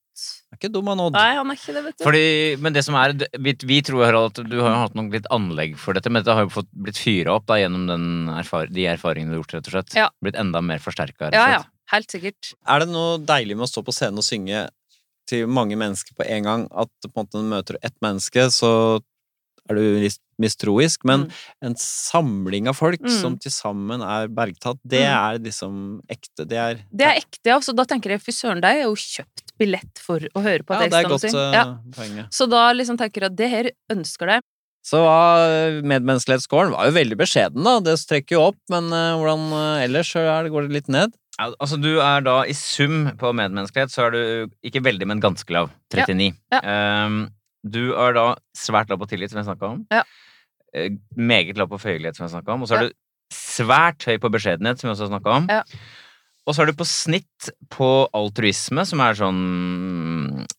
Speaker 2: ikke dum han Odd.
Speaker 1: Nei, han er ikke det, vet du.
Speaker 3: Fordi, men det som er, d- vi, vi tror Harald, at du har jo hatt noe litt anlegg for dette, men dette har jo fått, blitt fyra opp da, gjennom den erfar de erfaringene du har gjort, rett og slett.
Speaker 1: Ja.
Speaker 3: Blitt enda mer forsterka, rett
Speaker 1: ja,
Speaker 3: og
Speaker 1: ja.
Speaker 3: slett.
Speaker 1: Helt sikkert.
Speaker 2: Er det noe deilig med å stå på scenen og synge til mange mennesker på en gang, at på en måte når du møter ett menneske, så er du litt mistroisk, men
Speaker 1: Mm.
Speaker 2: en samling av folk
Speaker 1: Mm.
Speaker 2: som til sammen er bergtatt, det
Speaker 1: Mm.
Speaker 2: er liksom ekte. Det er
Speaker 1: Det er ekte, ja. Så da tenker jeg fy søren, deg har jo kjøpt billett for å høre på
Speaker 2: Ja,
Speaker 1: at jeg
Speaker 2: det er
Speaker 1: skal
Speaker 2: godt
Speaker 1: synge.
Speaker 2: eh,
Speaker 1: Ja.
Speaker 2: poenget.
Speaker 1: Så da liksom tenker jeg at det her ønsker deg.
Speaker 2: Så var medmenneskelighetsscoren var jo veldig beskjeden, da. Det trekker jo opp, men eh, hvordan eh, ellers så er det, går det litt ned?
Speaker 3: Al- Altså, du er da i sum på medmenneskelighet, så er du ikke veldig, men ganske lav. 39.
Speaker 1: Ja,
Speaker 3: Ehm, du er da svært lav på tillit, som jeg snakka om.
Speaker 1: Ja.
Speaker 3: Eh, meget lav på føyelighet, som jeg snakka om. Og så er
Speaker 1: Ja.
Speaker 3: du svært høy på beskjedenhet, som vi også har snakka om.
Speaker 1: Ja.
Speaker 3: Og så er du på snitt på altruisme, som er sånn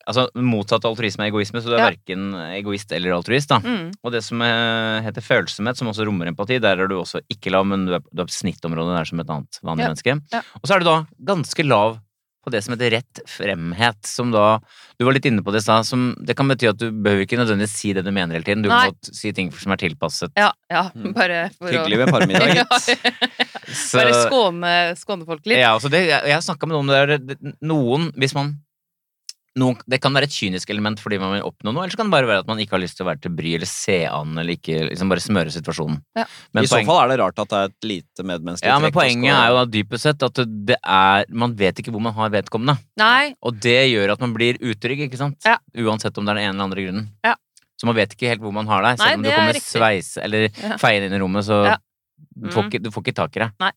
Speaker 3: Altså motsatt av altruisme er egoisme, så du er
Speaker 1: Ja.
Speaker 3: verken egoist eller altruist, da.
Speaker 1: Mm.
Speaker 3: Og det som eh, heter følsomhet, som også rommer empati, der er du også ikke lav, men du er, du er på snittområdet der som et annet vanlig
Speaker 1: Ja,
Speaker 3: menneske.
Speaker 1: ja.
Speaker 3: Og så er du da ganske lav på det som heter rett fremhet, som da Du var litt inne på det i stad, som det kan bety at du behøver ikke nødvendigvis si det du mener hele tiden, du
Speaker 1: Nei.
Speaker 3: kan godt si ting som er tilpasset.
Speaker 1: Ja, ja,
Speaker 2: Mm.
Speaker 1: bare for å
Speaker 2: Hyggelig med
Speaker 1: [LAUGHS]
Speaker 2: parmiddag.
Speaker 1: Ja,
Speaker 2: gitt.
Speaker 3: Så-
Speaker 1: Bare skåne, skåne folk litt.
Speaker 3: Ja, altså det, jeg, jeg snakka med noen om det der det- Noen, hvis man noen, Det kan være et kynisk element fordi man vil oppnå noe, eller så kan det bare være at man ikke har lyst til å være til bry eller se an, eller ikke liksom bare smøre situasjonen.
Speaker 1: Ja.
Speaker 3: Men
Speaker 2: I så
Speaker 3: poeng-
Speaker 2: fall er det rart at det er et lite medmenneskelig
Speaker 3: ja, men
Speaker 2: trekk å
Speaker 3: poenget
Speaker 2: skal-
Speaker 3: er jo da dypest sett at det er Man vet ikke hvor man har vedkommende,
Speaker 1: Nei,
Speaker 3: og det gjør at man blir utrygg, ikke sant?
Speaker 1: Ja.
Speaker 3: Uansett om det er den ene eller andre grunnen.
Speaker 1: Ja.
Speaker 3: Så man vet ikke helt hvor man har deg,
Speaker 1: Nei,
Speaker 3: selv om du
Speaker 1: det er
Speaker 3: kommer
Speaker 1: riktig.
Speaker 3: sveise eller
Speaker 1: Ja.
Speaker 3: feie inn i rommet, så
Speaker 1: Ja. Mm.
Speaker 3: du, får ikke, du får ikke tak i det.
Speaker 1: Nei.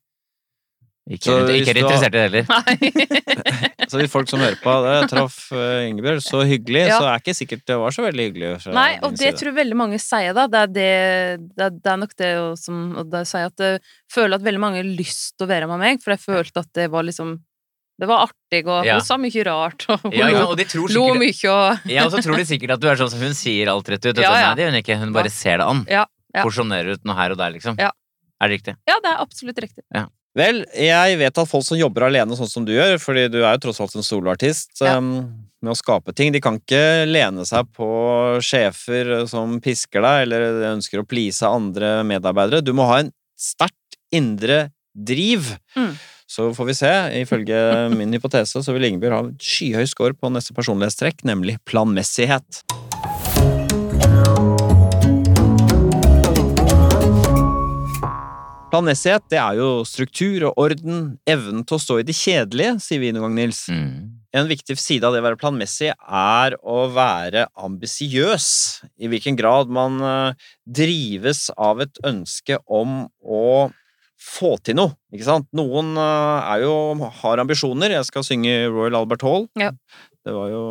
Speaker 3: Ikke,
Speaker 2: Så hvis
Speaker 3: ikke er
Speaker 2: du har-
Speaker 3: interessert i det heller.
Speaker 1: nei.
Speaker 2: Så de folk som hører på det, traff eh, Ingebjørg så hyggelig,
Speaker 1: Ja.
Speaker 2: så er ikke sikkert det var så veldig hyggelig. fra
Speaker 1: Nei,
Speaker 2: din
Speaker 1: og det
Speaker 2: side.
Speaker 1: tror jeg veldig mange sier da. Det er, det, det er, det er nok det å- som og det sier jeg at jeg føler at veldig mange har lyst til å være med meg, for jeg følte at det var liksom Det var artig, og
Speaker 3: Ja.
Speaker 1: hun sa mye rart, og hun
Speaker 3: Ja, ikke sant?
Speaker 1: lo,
Speaker 3: og de tror
Speaker 1: lo
Speaker 3: sikkert
Speaker 1: mye og
Speaker 3: Ja, og så tror de sikkert at du er sånn som hun sier alt rett ut. og
Speaker 1: Ja,
Speaker 3: sånn,
Speaker 1: ja.
Speaker 3: Nei, det gjør hun ikke. Hun bare
Speaker 1: Ja.
Speaker 3: ser det an.
Speaker 1: Ja, ja.
Speaker 3: Porsjonerer ut noe her og der, liksom.
Speaker 1: Ja.
Speaker 3: Er det riktig?
Speaker 1: Ja, det er absolutt riktig.
Speaker 2: Vel, jeg vet at folk som jobber alene sånn som du gjør, fordi du er jo tross alt en soloartist,
Speaker 1: Ja.
Speaker 2: um, med å skape ting, de kan ikke lene seg på sjefer som pisker deg, eller ønsker å please andre medarbeidere. Du må ha en sterkt indre driv.
Speaker 1: Mm.
Speaker 2: Så får vi se. Ifølge min hypotese så vil Ingebjørg ha en skyhøy score på neste personlighetstrekk, nemlig planmessighet. Planmessighet det er jo struktur og orden, evnen til å stå i det kjedelige, sier vi noen gang, Nils.
Speaker 3: Mm.
Speaker 2: En viktig side av det å være planmessig er å være ambisiøs. I hvilken grad man eh, drives av et ønske om å få til noe. Ikke sant? Noen eh, er jo, har ambisjoner. Jeg skal synge Royal Albert Hall.
Speaker 1: Ja.
Speaker 2: Det var jo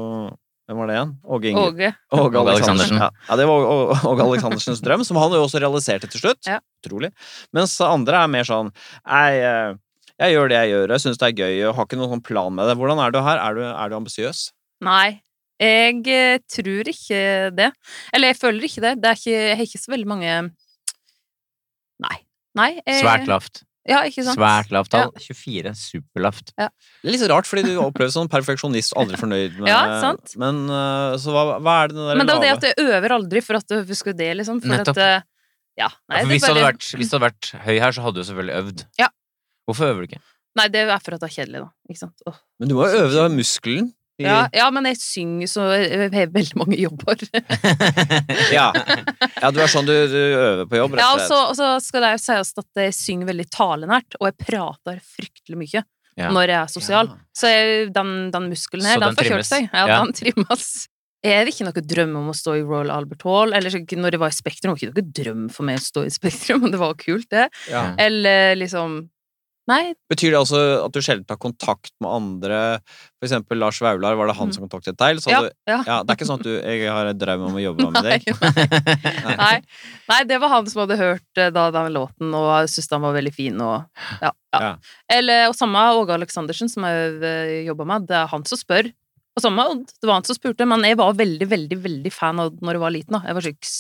Speaker 2: Hvem var det igjen? Åge Inge.
Speaker 1: Åge.
Speaker 2: Åge
Speaker 3: Åge
Speaker 2: Aleksandersen.
Speaker 3: Aleksandersen.
Speaker 2: Ja. ja, det var Å- Åge Aleksandersens drøm, som han jo også realiserte til slutt.
Speaker 1: Ja.
Speaker 2: Utrolig. Mens andre er mer sånn Nei, eh, jeg gjør det jeg gjør, jeg syns det er gøy, jeg har ikke noen sånn plan med det. Hvordan er du her? Er du, er du ambisiøs?
Speaker 1: Nei. Jeg eh, tror ikke det. Eller jeg føler ikke det. det er ikke, jeg har ikke så veldig mange Nei. Nei. jeg-
Speaker 3: Svært lavt.
Speaker 1: Ja, Eh, ikke sant?
Speaker 3: Svært lavt tall. 24. Superlavt.
Speaker 2: Det er litt rart, fordi du oppleves som perfeksjonist og aldri fornøyd med
Speaker 1: Ja, sant.
Speaker 2: Men eh, så hva, hva er det den der
Speaker 1: Men det er jo det
Speaker 2: lave-
Speaker 1: at jeg øver aldri for at du husker det, liksom. For
Speaker 3: Nettopp.
Speaker 1: at eh, Ja. Nei, det
Speaker 3: Ja, for
Speaker 1: er
Speaker 3: hvis, du hadde
Speaker 1: bare-
Speaker 3: vært, hvis du hadde vært høy her, så hadde du selvfølgelig øvd.
Speaker 1: Ja.
Speaker 3: Hvorfor øver du
Speaker 1: [LAUGHS]
Speaker 3: ikke?
Speaker 1: Nei, det er for at det er kjedelig, da. Ikke sant? Åh.
Speaker 2: Men du må jo øve deg i muskelen. I-
Speaker 1: Ja, ja, men jeg synger så Jeg har veldig mange jobber.
Speaker 2: ja. ja, du er sånn du, du øver på jobb, rett
Speaker 1: Ja,
Speaker 2: og
Speaker 1: og
Speaker 2: slett.
Speaker 1: så, og så skal det jo sies at jeg synger veldig talenært, og jeg prater fryktelig mye
Speaker 3: Ja.
Speaker 1: når jeg er sosial.
Speaker 2: Ja.
Speaker 1: Så jeg, den, den muskelen her,
Speaker 3: Så
Speaker 1: den
Speaker 3: den
Speaker 1: får kjørt
Speaker 3: trimmes.
Speaker 1: seg. Ja,
Speaker 3: Ja.
Speaker 1: den trimmes. Jeg hadde ikke noe drøm om å stå i Royal Albert Hall, eller ikke- når jeg var i Spektrum, var det ikke noe drøm for meg å stå i Spektrum, [LAUGHS] men det var kult, det.
Speaker 2: Ja.
Speaker 1: Eller liksom Nei,
Speaker 2: Betyr det altså at du sjelden tar kontakt med andre? For eksempel Lars Vaular, var det han
Speaker 1: Mm.
Speaker 2: som kontaktet deg? Eller sa
Speaker 1: ja,
Speaker 2: du
Speaker 1: ja.
Speaker 2: Ja, det er ikke sånn at du Jeg har en drøm om å jobbe med
Speaker 1: [LAUGHS] Nei,
Speaker 2: deg.
Speaker 1: nei, nei, det var han som hadde hørt eh, da, den låten og syntes den var veldig fin. Og, ja, ja.
Speaker 2: Ja.
Speaker 1: Eller, og samme Åge Aleksandersen, som jeg jobba med, det er han som spør. Og samme Odd, det var han som spurte, men jeg var veldig, veldig veldig fan av Odd når jeg var liten. Da. Jeg var slik,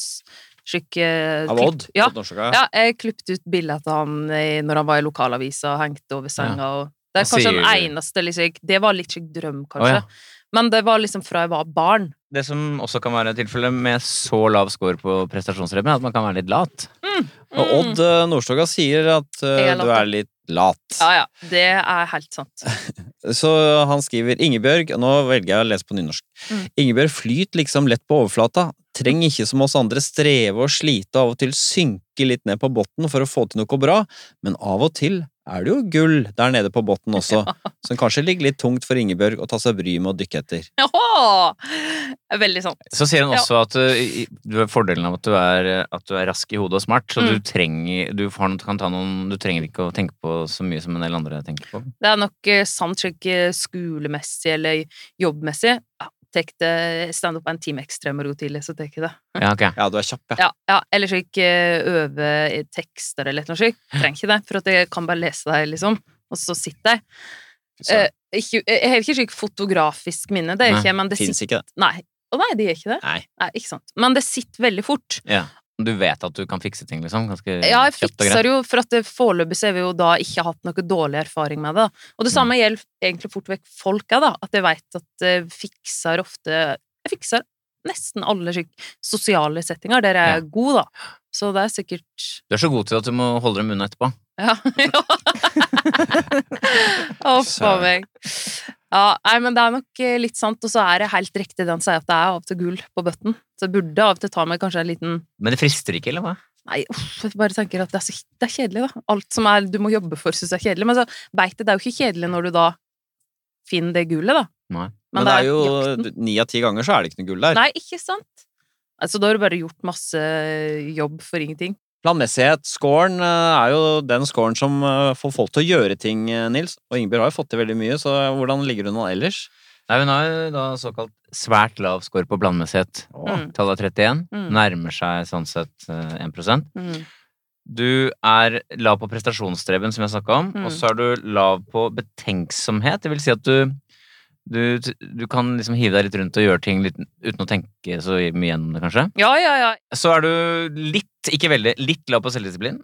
Speaker 1: slik eh,
Speaker 2: Av Odd?
Speaker 1: klipp- Ja,
Speaker 2: Odd Nordsjøka,
Speaker 1: ja, jeg klippte ut bilde av han i, når han var i lokalavisa og hengte over senga. Og, det er
Speaker 3: Hva
Speaker 1: kanskje den
Speaker 3: sier du?
Speaker 1: eneste liksom, Det var litt slik drøm,
Speaker 3: Å,
Speaker 1: kanskje.
Speaker 3: ja.
Speaker 1: Men det var liksom fra jeg var barn.
Speaker 3: Det som også kan være tilfellet med så lav score på prestasjonsrevyen, er at man kan være litt lat.
Speaker 2: Og
Speaker 1: Mm.
Speaker 2: Odd eh, Nordstoga sier at eh,
Speaker 1: Jeg er lat,
Speaker 2: du
Speaker 1: ja.
Speaker 2: er litt lat.
Speaker 1: Ja, ja. Det er helt sant. [LAUGHS]
Speaker 2: Så han skriver Ingebjørg og Nå velger jeg å lese på nynorsk.
Speaker 1: Mm.
Speaker 2: Ingebjørg flyter liksom lett på overflata. Trenger ikke som oss andre streve og slite og av og til synke litt ned på bunnen for å få til noe bra, men av og til er det jo gull der nede på bunnen også,
Speaker 1: [LAUGHS]
Speaker 2: som kanskje ligger litt tungt for Ingebjørg å ta seg bryet med å dykke etter.
Speaker 1: Åh! Veldig sant.
Speaker 3: Så sier hun
Speaker 1: Ja.
Speaker 3: også at uh, i- du har fordelen av at du er, at du er rask i hodet og smart, så
Speaker 1: Mm.
Speaker 3: du, trenger, du, har noen, kan ta noen, du trenger ikke å tenke på så mye som
Speaker 1: Hm.
Speaker 3: en del andre tenker på.
Speaker 1: Det er nok eh, sant slik eh, skolemessig eller jobbmessig. Ja, tek det standup en time ekstra i morgen tidlig, så tar jeg det.
Speaker 3: Ja, ok.
Speaker 2: Ja, du er kjapp, ja.
Speaker 1: Ja, ja ellers ikke øve i tekster eller noe slikt. Trenger ikke det, for at jeg kan bare lese deg, liksom. Og så sitter jeg.
Speaker 2: Så,
Speaker 1: Eh, Ikke, jeg har ikke slik fotografisk minne, det er
Speaker 3: Nei,
Speaker 1: ikke, men det
Speaker 2: Fins
Speaker 1: sitter
Speaker 2: ikke det.
Speaker 1: Nei. Å nei, det gjør ikke det.
Speaker 2: Nei.
Speaker 1: ikke sant. Men det sitter veldig fort.
Speaker 3: Ja. Du vet at du kan fikse ting, liksom? Ganske
Speaker 1: Ja, jeg
Speaker 3: kjapt og greit.
Speaker 1: fikser jo, for at det- foreløpig så har vi jo da ikke hatt noe dårlig erfaring med det. da. Og
Speaker 3: Mm.
Speaker 1: det samme gjelder egentlig fort vekk folka, da. At jeg veit at jeg fikser ofte Jeg fikser nesten alle slik sosiale settinger der jeg er god, da. Så det er sikkert
Speaker 3: Du er så god til at du må holde dem unna etterpå.
Speaker 1: Ja. [LAUGHS] ja. Å, faen meg. Ja, nei, men det er nok eh, litt sant, og så er det helt riktig det han sier, at det er av og til gull på bøtten. Så jeg burde av og til ta meg kanskje en liten
Speaker 3: Men det frister ikke, eller hva?
Speaker 1: Nei, uff, jeg bare tenker at det er, så, det er kjedelig, da. Alt som er, du må jobbe for, syns jeg er kjedelig. Men så veit jeg, det er jo ikke kjedelig når du da finner det gullet, da.
Speaker 3: Nei.
Speaker 2: Men det er
Speaker 1: jakten.
Speaker 2: jo ni av ti ganger så er det ikke noe gull der.
Speaker 1: Nei, ikke sant? Altså, da har du bare gjort masse eh, jobb for ingenting.
Speaker 2: Planmessighet-scoren eh, er jo den scoren som eh, får folk til å gjøre ting, eh, Nils. Og Ingebjørg har jo fått til veldig mye, så hvordan ligger hun nå ellers?
Speaker 3: Nei, Hun har jo da såkalt svært lav score på blandmessighet.
Speaker 1: Mm.
Speaker 3: Tallet er 31.
Speaker 1: Mm.
Speaker 3: Nærmer seg sånn sett eh, 1
Speaker 1: Mm.
Speaker 3: Du er lav på prestasjonsstreben, som jeg snakka om,
Speaker 1: Mm.
Speaker 3: og så er du lav på betenksomhet. Det vil si at du, du, du kan liksom hive deg litt rundt og gjøre ting litt, uten å tenke så mye gjennom det, kanskje.
Speaker 1: Ja, ja, ja.
Speaker 3: Så er du litt, ikke veldig, litt lav på selvdisiplin.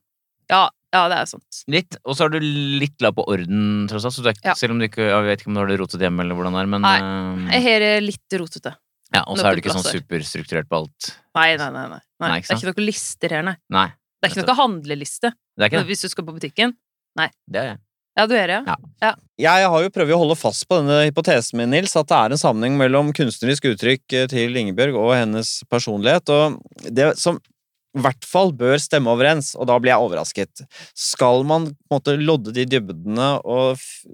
Speaker 1: Ja, ja, det er sant.
Speaker 3: Litt, og så er du litt lav på orden, tross alt. Så du er, ikke-
Speaker 1: Ja.
Speaker 3: Selv om du ikke jeg vet ikke om du har det rotet hjemme, eller hvordan det er, men
Speaker 1: Jeg
Speaker 2: Mm.
Speaker 3: eh,
Speaker 1: har det litt rotete.
Speaker 3: ja, Og så er du ikke sånn
Speaker 1: Nøkkelplasser.
Speaker 3: superstrukturert på alt.
Speaker 1: Nei, nei, nei. nei. nei
Speaker 3: Nei, ikke
Speaker 1: det er ikke noen lister her, nei.
Speaker 3: Nei,
Speaker 1: Det er ikke noen handleliste
Speaker 3: det er ikke det.
Speaker 1: hvis du skal på butikken.
Speaker 3: Det er jeg.
Speaker 1: Ja, du er det, ja.
Speaker 2: Jeg har jo prøvd å holde fast på denne hypotesen min, Nils, at det er en sammenheng mellom kunstnerisk uttrykk eh, til Ingebjørg og hennes personlighet, og det som i hvert fall bør stemme overens, og da blir jeg overrasket. Skal man på en måte lodde de dybdene og f-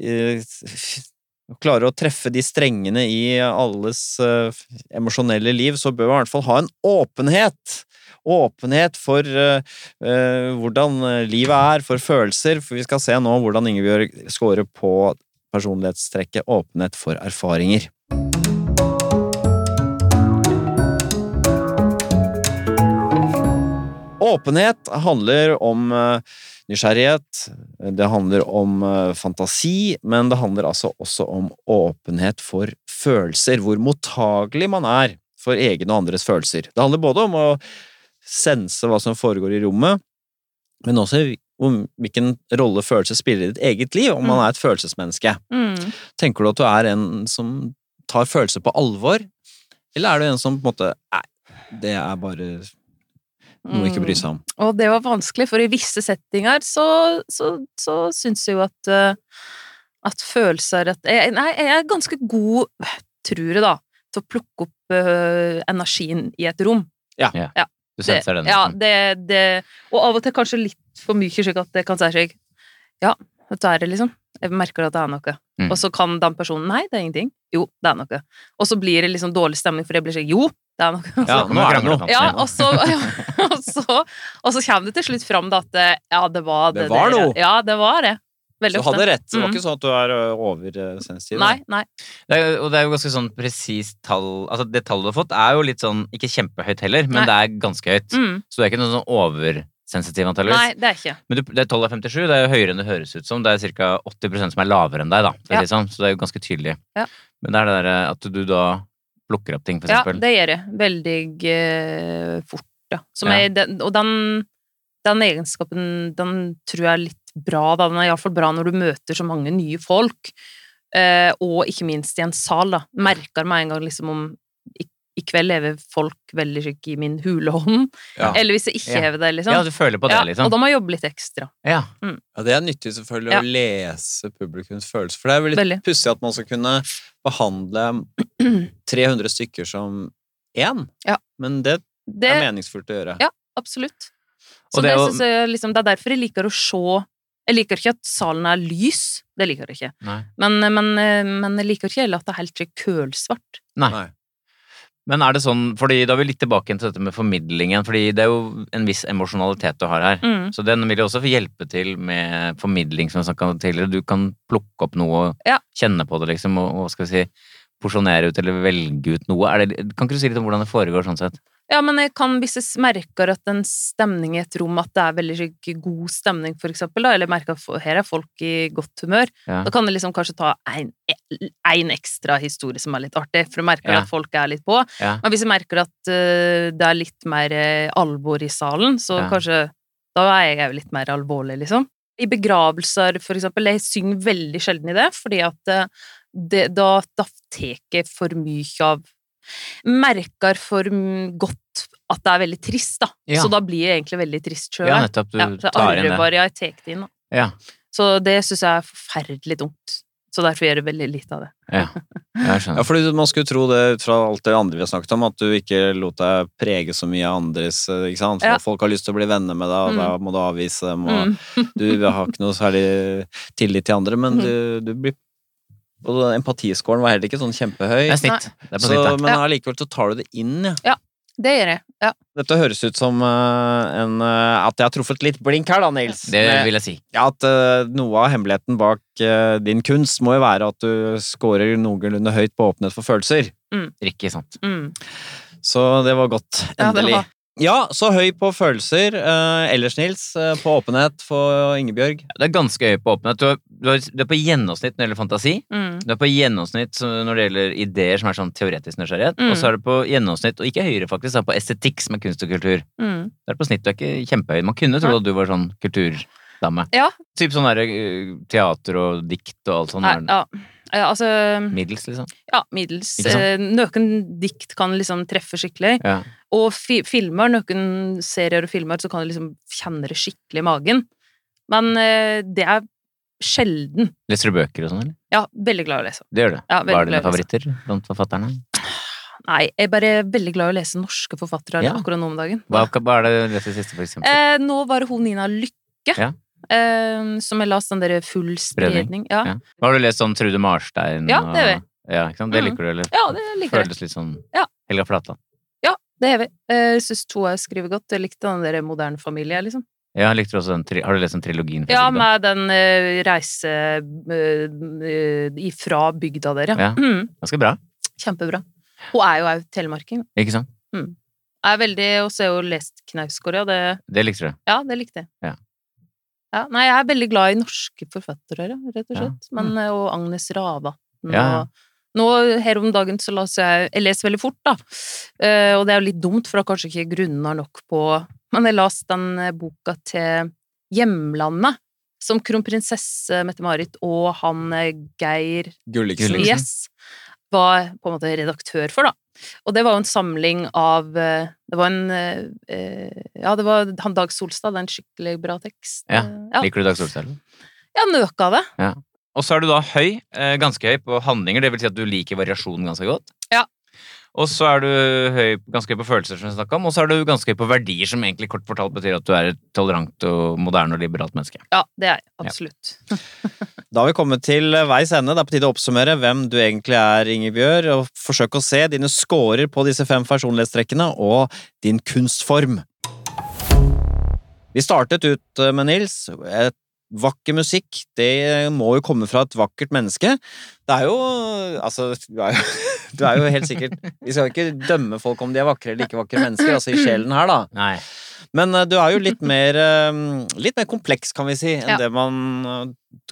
Speaker 2: eh, f- klare å treffe de strengene i alles eh, f- emosjonelle liv, så bør man i hvert fall ha en åpenhet. Åpenhet for eh, eh, hvordan eh, livet er, for følelser. For vi skal se nå hvordan Ingebjørg scorer på personlighetstrekket åpenhet for erfaringer. Åpenhet handler om eh, nysgjerrighet, det handler om eh, fantasi, men det handler altså også om åpenhet for følelser, hvor mottagelig man er for egne og andres følelser. Det handler både om å sense hva som foregår i rommet, men også om hvilken rolle følelser spiller i ditt eget liv, om man er et følelsesmenneske.
Speaker 1: Mm.
Speaker 2: Tenker du at du er en som tar følelser på alvor, eller er du en som på en måte Nei, det er bare noe ikke å bry seg om.
Speaker 1: Og Mm. det var vanskelig, for i visse settinger så, så, så syns jeg jo at eh, At følelser at jeg, Nei, jeg er ganske god, tror jeg, da, til å plukke opp eh, energien i et rom.
Speaker 3: Du senser den. Mm.
Speaker 1: ja,
Speaker 3: nesten.
Speaker 1: det, det Og av og til kanskje litt for mye, slik at det kan si seg Ja, dette er det, liksom. Jeg merker at det er noe.
Speaker 3: Mm.
Speaker 1: Og så kan den personen Nei, det er ingenting. Jo, det er noe. Og så blir det liksom dårlig stemning, for jeg blir sånn Jo, det er noe.
Speaker 2: Ja,
Speaker 3: Så
Speaker 2: nå er det
Speaker 3: krangler
Speaker 2: noe.
Speaker 3: kanskje.
Speaker 1: Ja, og så, ja, [LAUGHS] og så, og så kommer det til slutt fram da at det, ja, det var det.
Speaker 2: Det var
Speaker 1: der,
Speaker 2: noe.
Speaker 1: Ja, det var det.
Speaker 2: Du
Speaker 1: Veldig ofte.
Speaker 2: hadde rett. Det var
Speaker 1: Mm.
Speaker 2: ikke sånn at du er ø, oversensitiv.
Speaker 1: Nei, nei.
Speaker 3: Det er, jo- og det er jo ganske sånn presist tall Altså det tallet du har fått er jo litt sånn Ikke kjempehøyt heller, men det er ganske høyt.
Speaker 1: Mm.
Speaker 3: Så du er ikke noe sånn oversensitiv
Speaker 1: Nei,
Speaker 3: antageligvis.
Speaker 1: det er ikke.
Speaker 3: Men du, det er 12 av 57, det er jo høyere enn det høres ut som. Det er ca. 80 som er lavere enn deg, da. for å
Speaker 1: Ja.
Speaker 3: si det sånn. Så det er jo ganske tydelig.
Speaker 1: Ja.
Speaker 3: Men det er det derre at du da plukker opp ting, for
Speaker 1: Ja,
Speaker 3: eksempel.
Speaker 1: det gjør jeg. Veldig eh, fort, ja. Som
Speaker 3: Ja.
Speaker 1: Er, den, og den, den egenskapen, den tror jeg er litt bra, da. Den er iallfall bra når du møter så mange nye folk. Eh, og ikke minst i en sal, da. Merker med en gang liksom om i, i kveld lever folk veldig slik i min hulehånd.
Speaker 2: Ja.
Speaker 1: Eller hvis jeg
Speaker 3: Ja.
Speaker 1: ikke hever det, liksom.
Speaker 3: Ja, du føler på det,
Speaker 1: Ja,
Speaker 3: liksom.
Speaker 1: Og da må jeg jobbe litt ekstra.
Speaker 3: Ja.
Speaker 2: Ja, det er nyttig selvfølgelig
Speaker 1: Ja.
Speaker 2: å lese publikums følelser, for det er jo
Speaker 1: Veldig.
Speaker 2: litt pussig at man skal kunne behandle
Speaker 1: [CLEARS THROAT]
Speaker 2: 300 stykker som én,
Speaker 1: Ja.
Speaker 2: men det
Speaker 1: Det,
Speaker 2: er meningsfullt å gjøre.
Speaker 1: Ja. absolutt. Så
Speaker 3: Og
Speaker 1: det,
Speaker 3: det er jo-
Speaker 1: synes jeg, liksom, det er derfor jeg liker å se Jeg liker ikke at salen er lys, det liker jeg ikke.
Speaker 3: Nei.
Speaker 1: Men, men, men jeg liker ikke heller at det er helt slik kølsvart.
Speaker 3: Nei.
Speaker 2: Nei.
Speaker 3: Men er det sånn, fordi da er vi litt tilbake igjen til dette med formidlingen, fordi det er jo en viss emosjonalitet du har her.
Speaker 1: Mm.
Speaker 3: Så den vil jo også få hjelpe til med formidling, som jeg snakket om tidligere. Du kan plukke opp noe og
Speaker 1: Ja.
Speaker 3: kjenne på det, liksom, og, og hva skal vi si, porsjonere ut eller velge ut noe? Er det, kan ikke du si litt om hvordan det foregår sånn sett?
Speaker 1: Ja, men jeg kan hvis jeg merker at en stemning i et rom, at det er veldig slik god stemning, for eksempel, da, eller merker at for- her er folk i godt humør,
Speaker 3: Ja.
Speaker 1: da kan det liksom kanskje ta en, en ekstra historie som er litt artig, for du merker
Speaker 3: Ja.
Speaker 1: at folk er litt på.
Speaker 3: Ja.
Speaker 1: Men hvis jeg merker at eh, det er litt mer eh, alvor i salen, så
Speaker 3: Ja.
Speaker 1: kanskje Da er jeg jo litt mer alvorlig, liksom. I begravelser, for eksempel, jeg synger veldig sjelden i det, fordi at eh, det, da, da tar jeg for mye av merker for m- godt at det er veldig trist, da.
Speaker 3: Ja.
Speaker 1: Så da blir jeg egentlig veldig trist sjøl.
Speaker 3: Ja, nettopp. Du
Speaker 1: Ja, så jeg
Speaker 3: tar inn
Speaker 1: angrer
Speaker 3: det.
Speaker 1: bare jeg tar det inn. Da.
Speaker 3: Ja.
Speaker 1: Så det syns jeg er forferdelig dumt. Så derfor gjør jeg veldig lite av det.
Speaker 3: Jeg
Speaker 2: Ja,
Speaker 3: skjønner.
Speaker 2: fordi Man skulle tro det ut fra alt det andre vi har snakket om, at du ikke lot deg prege så mye av andres eh, ikke sant? For
Speaker 1: Ja.
Speaker 2: Folk har lyst til å bli venner med deg, og
Speaker 1: Mm.
Speaker 2: da må du avvise dem. Og
Speaker 1: Mm.
Speaker 2: Du har ikke noe særlig tillit til andre, men
Speaker 1: Mm.
Speaker 2: du, du blir og Empatiscoren var heller ikke sånn kjempehøy,
Speaker 3: Det er snitt. Det er på
Speaker 2: så,
Speaker 3: snitt, da.
Speaker 2: men
Speaker 1: Ja.
Speaker 2: allikevel så tar du det inn, ja.
Speaker 1: Det gjør jeg. Ja.
Speaker 2: Dette høres ut som eh, en, eh, at jeg har truffet litt blink her, da, Nils.
Speaker 3: Det
Speaker 2: Med-
Speaker 3: vil jeg si.
Speaker 2: ja, at eh, noe av hemmeligheten bak eh, din kunst må jo være at du scorer noenlunde høyt på åpenhet for følelser.
Speaker 3: Ikke sant.
Speaker 1: Mm.
Speaker 2: Så det var godt.
Speaker 1: Ja, det
Speaker 2: Endelig. Ja,
Speaker 1: var-
Speaker 2: så høy på følelser. eh, ellers, Nils, eh, på åpenhet for Ingebjørg.
Speaker 3: Det er ganske høy på åpenhet. Du er, du er, du er på gjennomsnitt når det gjelder fantasi.
Speaker 1: Mm.
Speaker 3: Du er på gjennomsnitt så når det gjelder ideer som er sånn teoretisk nysgjerrighet.
Speaker 1: Mm.
Speaker 3: Og så er du på gjennomsnitt, og ikke høyere faktisk, da, på estetikk som er kunst og kultur.
Speaker 1: Mm.
Speaker 3: Det er på snitt, du er ikke kjempehøy. Man kunne tro
Speaker 1: Nei.
Speaker 3: at du var sånn kulturdame.
Speaker 1: Ja.
Speaker 3: Typ sånn der, eh, teater og dikt og alt sånt.
Speaker 1: Nei,
Speaker 3: Sånn er den
Speaker 1: ja. Eh, Altså,
Speaker 3: Middels, liksom.
Speaker 1: ja, middels.
Speaker 3: Ikke sant?
Speaker 1: Eh, Noen dikt kan liksom treffe skikkelig.
Speaker 3: Ja.
Speaker 1: Og fi filmer, noen serier og filmer, så kan du liksom kjenne det skikkelig i magen. Men eh, det er sjelden.
Speaker 3: Leser du bøker og sånn, eller?
Speaker 1: Ja, veldig glad i å lese.
Speaker 3: Det gjør du.
Speaker 1: Ja, veldig
Speaker 3: Hva er
Speaker 1: glad i
Speaker 3: dine
Speaker 1: å lese.
Speaker 3: favoritter blant forfatterne?
Speaker 1: Nei, jeg er bare veldig glad i å lese norske forfattere
Speaker 3: Ja.
Speaker 1: akkurat nå om dagen.
Speaker 3: Hva, hva er det du leser siste, for eksempel?
Speaker 1: Eh, nå var det hun Nina Lykke,
Speaker 3: Ja.
Speaker 1: eh, som jeg leste den derre Full spredning. Ja.
Speaker 3: Ja. Har du lest sånn Trude Marstein?
Speaker 1: Ja, det gjør
Speaker 3: og- Ja, ikke sant? Det
Speaker 1: Mm.
Speaker 3: liker du, eller?
Speaker 1: ja, det liker jeg.
Speaker 3: Føles litt sånn
Speaker 1: Ja.
Speaker 3: Helga Flatland.
Speaker 1: Det er vi. Eh, Jeg syns to jeg skriver godt. Jeg likte den der moderne familie, liksom.
Speaker 3: Ja, likte du også den, tri- har du lest den trilogien? fra
Speaker 1: Ja,
Speaker 3: Sigda?
Speaker 1: med den eh, reise eh, eh, ifra bygda der, ja.
Speaker 3: Ja.
Speaker 1: Mm,
Speaker 3: Ganske bra,
Speaker 1: kjempebra. Hun er jo òg telemarking.
Speaker 3: ikke sant?
Speaker 1: Jeg er veldig, Og så har jeg jo lest Knausgård, ja. Det,
Speaker 3: Det likte du.
Speaker 1: ja, det likte jeg.
Speaker 3: Ja.
Speaker 1: Ja, nei, jeg er veldig glad i norske forfattere, ja, rett og
Speaker 3: Ja. Mm.
Speaker 1: slett. Men, eh, og Agnes Ravatn
Speaker 3: Ja.
Speaker 1: og nå her om dagen så leser jeg Jeg leser veldig fort, da. Eh, og det er jo litt dumt, for da kanskje ikke grunner nok på Men jeg leste den eh, boka til Hjemlandet, som kronprinsesse Mette-Marit og han eh, Geir
Speaker 2: Gulliksen.
Speaker 3: Gulliksen.
Speaker 1: Yes, var på en måte redaktør for, da. Og det var jo en samling av eh, Det var en eh, eh, Ja, det var han Dag Solstad, det er en skikkelig bra tekst.
Speaker 3: Ja,
Speaker 1: Eh, ja.
Speaker 3: Liker du Dag Solstad? eller?
Speaker 1: ja nøk av det.
Speaker 3: Og så er du da høy, eh, ganske høy på handlinger, det vil si at du liker variasjon ganske godt.
Speaker 1: Ja.
Speaker 3: Og så er du høy, ganske høy på følelser, som vi snakket om, og så er du ganske høy på verdier, som egentlig kort fortalt betyr at du er et tolerant og moderne og liberalt menneske.
Speaker 1: Ja, det er jeg. Absolutt.
Speaker 2: Da har vi kommet til eh, veis ende. Det er på tide å oppsummere hvem du egentlig er, Ingebjørg, og forsøke å se dine scorer på disse fem personlighetstrekkene og din kunstform. Vi startet ut eh, med Nils. Et Vakker musikk, det må jo komme fra et vakkert menneske. Det er jo Altså, du er jo, [LAUGHS] du er jo helt sikkert Vi skal ikke dømme folk om de er vakre eller ikke vakre mennesker, altså i sjelen her, da.
Speaker 3: Nei.
Speaker 2: Men eh, du er jo
Speaker 1: [LAUGHS]
Speaker 2: litt mer, eh, litt mer kompleks, kan vi si, enn
Speaker 1: Ja.
Speaker 2: det man eh,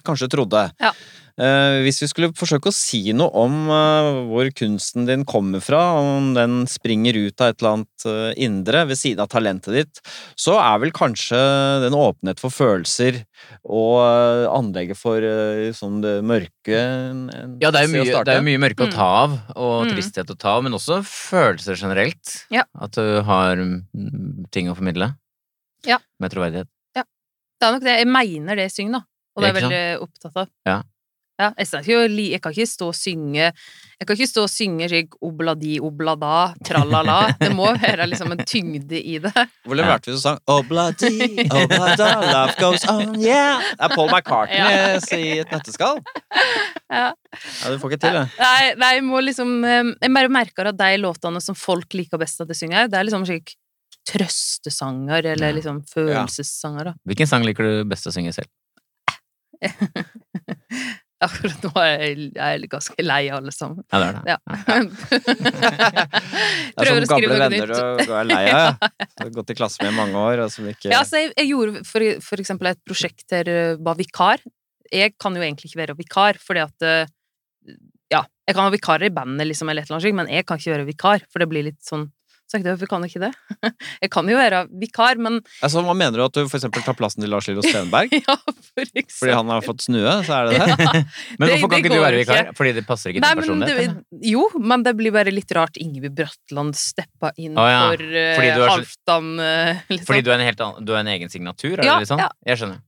Speaker 2: kanskje trodde.
Speaker 1: Ja.
Speaker 2: Eh, Hvis vi skulle forsøke å si noe om eh, hvor kunsten din kommer fra, om den springer ut av et eller annet eh, indre ved siden av talentet ditt, så er vel kanskje den åpenhet for følelser og eh, anlegget for eh, sånn det mørke en- en
Speaker 3: Ja, det er jo
Speaker 2: sted å
Speaker 3: mye,
Speaker 2: starte.
Speaker 3: det er jo mye mørke
Speaker 1: Mm.
Speaker 3: å ta av, og
Speaker 1: Mm.
Speaker 3: tristhet å ta av, men også følelser generelt.
Speaker 1: Ja.
Speaker 3: At du har mm, ting å formidle.
Speaker 1: Ja.
Speaker 3: Med troverdighet.
Speaker 1: Det er nok det. Jeg mener det jeg synger, da. Og det er
Speaker 3: Ikke
Speaker 1: jeg
Speaker 3: sant?
Speaker 1: veldig opptatt av.
Speaker 3: Ja.
Speaker 1: Ja, jeg, snakker jo li- jeg kan ikke stå og synge Jeg kan ikke stå og synge slik obladi, oblada, tralala. Det må være liksom en tyngde i det.
Speaker 2: Hvor lenge
Speaker 3: Ja.
Speaker 2: vært vi som sang Obladi, oblada, Oh, love goes on, yeah Det er Paul McCartney i et nøtteskall.
Speaker 1: Ja.
Speaker 2: Ja, du får ikke til det.
Speaker 1: Nei, nei, jeg må liksom eh, Jeg bare merker at de låtene som folk liker best at jeg synger, det er liksom slik trøstesanger eller
Speaker 3: Ja.
Speaker 1: liksom følelsessanger, da. [LAUGHS]
Speaker 3: Hvilken sang liker du best å synge selv?
Speaker 1: Akkurat nå er jeg, jeg er ganske lei av alle sammen.
Speaker 3: Ja, det er det.
Speaker 1: Ja. Prøver å
Speaker 2: det er som
Speaker 1: skrive
Speaker 2: gamle
Speaker 1: noe
Speaker 2: venner
Speaker 1: nytt.
Speaker 2: du er lei av.
Speaker 1: [LAUGHS]
Speaker 2: ja. Som har gått i klasse med i mange år, og som ikke
Speaker 1: Ja, altså, jeg, jeg gjorde for, for eksempel et prosjekt der jeg var vikar. Jeg kan jo egentlig ikke være vikar, fordi at eh, Ja, jeg kan ha vikarer i bandet, liksom, eller et eller annet slikt, men jeg kan ikke være vikar, for det blir litt sånn så tenkte jeg, Hvorfor kan jeg ikke det? [LAUGHS] Jeg kan jo være vikar, men
Speaker 2: altså, Hva mener du at du for eksempel tar plassen til Lars Lillo Stenberg?
Speaker 1: [LAUGHS] ja, for eksempel
Speaker 2: Fordi han har fått snue, så er det det?
Speaker 3: Men
Speaker 1: Det-
Speaker 3: hvorfor kan
Speaker 1: det
Speaker 3: ikke du
Speaker 1: går
Speaker 3: være vikar?
Speaker 1: ikke.
Speaker 3: Fordi det passer ikke
Speaker 1: Nei,
Speaker 3: til
Speaker 1: men
Speaker 3: personlighet?
Speaker 1: det, jo, men det blir bare litt rart Ingebjørg Bratland steppa inn
Speaker 3: Å, ja.
Speaker 1: for eh,
Speaker 3: Fordi du er så-
Speaker 1: Halvdan, eh, liksom.
Speaker 3: Fordi du er en, helt annen, du er en egen signatur? Er
Speaker 1: Ja,
Speaker 3: det litt sånn?
Speaker 1: ja.
Speaker 3: Jeg skjønner.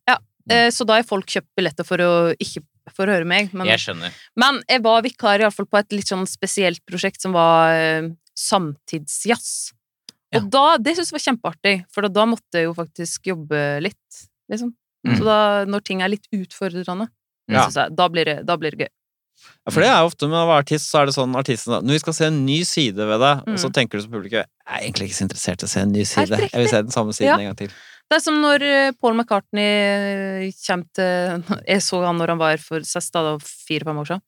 Speaker 1: Eh, Så da har folk kjøpt billetter for å ikke for å høre meg. Men
Speaker 3: Jeg skjønner.
Speaker 1: Men jeg var vikar i alle fall på et litt sånn spesielt prosjekt som var eh, samtidsjazz.
Speaker 3: Ja.
Speaker 1: Og da, det syntes jeg var kjempeartig, for da, da måtte jeg jo faktisk jobbe litt, liksom.
Speaker 3: Mm.
Speaker 1: Så da, når ting er litt utfordrende,
Speaker 3: Ja.
Speaker 1: synes jeg, da, blir det, da blir det gøy.
Speaker 2: Ja, for det er jo ofte med å være artist, så er det sånn artisten da, Når vi skal se en ny side ved deg, og så
Speaker 1: Mm.
Speaker 2: tenker du som publikum Jeg er egentlig ikke så interessert i å se en ny side.
Speaker 1: riktig.
Speaker 2: Jeg vil se den samme siden
Speaker 1: Ja.
Speaker 2: en gang til.
Speaker 1: Det er som når eh, Paul McCartney eh, [LAUGHS] kommer til Jeg så han når han var for sist, da, da fire-fem år siden.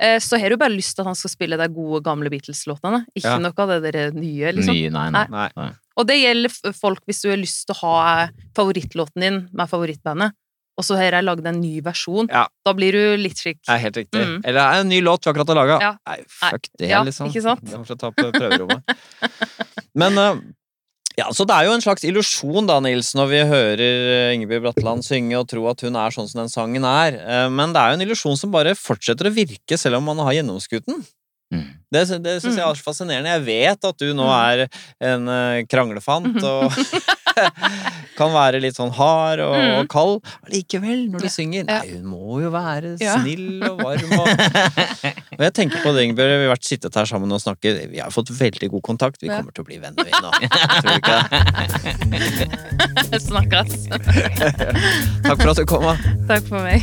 Speaker 1: Eh, Så har du bare lyst til at han skal spille de gode, gamle Beatles-låtene. Ikke
Speaker 2: Ja.
Speaker 1: noe av det der nye, liksom.
Speaker 3: Nye, nei, nei.
Speaker 1: Nei.
Speaker 2: Nei.
Speaker 1: Og det gjelder f- folk hvis du har lyst til å ha eh, favorittlåten din med favorittbandet, og så har jeg lagd en ny versjon.
Speaker 2: Ja.
Speaker 1: Da blir du litt slik.
Speaker 2: Det er helt riktig.
Speaker 1: Mm.
Speaker 2: Eller er det en ny låt vi akkurat har laga?
Speaker 1: Ja.
Speaker 2: Nei, fuck det,
Speaker 1: Ja,
Speaker 2: liksom.
Speaker 1: ikke sant?
Speaker 2: Den får jeg ta på prøverommet. [LAUGHS] Men eh, ja, så det er jo en slags illusjon, da, Nils, når vi hører eh, Ingebjørg Bratland synge og tro at hun er sånn som den sangen er. Eh, Men det er jo en illusjon som bare fortsetter å virke selv om man har gjennomskutt den.
Speaker 3: Mm.
Speaker 2: Det, sy- det syns jeg er så fascinerende. Jeg vet at du nå
Speaker 1: Mm.
Speaker 2: er en eh,
Speaker 1: Mm-hmm.
Speaker 2: kranglefant og [LAUGHS] kan være litt sånn hard og,
Speaker 1: Mm.
Speaker 2: og kald. Allikevel, når du synger
Speaker 1: Ja.
Speaker 2: Nei, hun må jo være
Speaker 1: Ja.
Speaker 2: snill og varm og [LAUGHS] Og jeg tenker på det, Ingebjørg. Vi har vært sittet her sammen og snakket. Vi har fått veldig god kontakt. Vi
Speaker 1: Ja.
Speaker 2: kommer til å bli venner, vi nå. Tror du ikke det?
Speaker 1: [LAUGHS] Snakkes.
Speaker 2: Takk for at du kom. da.
Speaker 1: Takk for meg.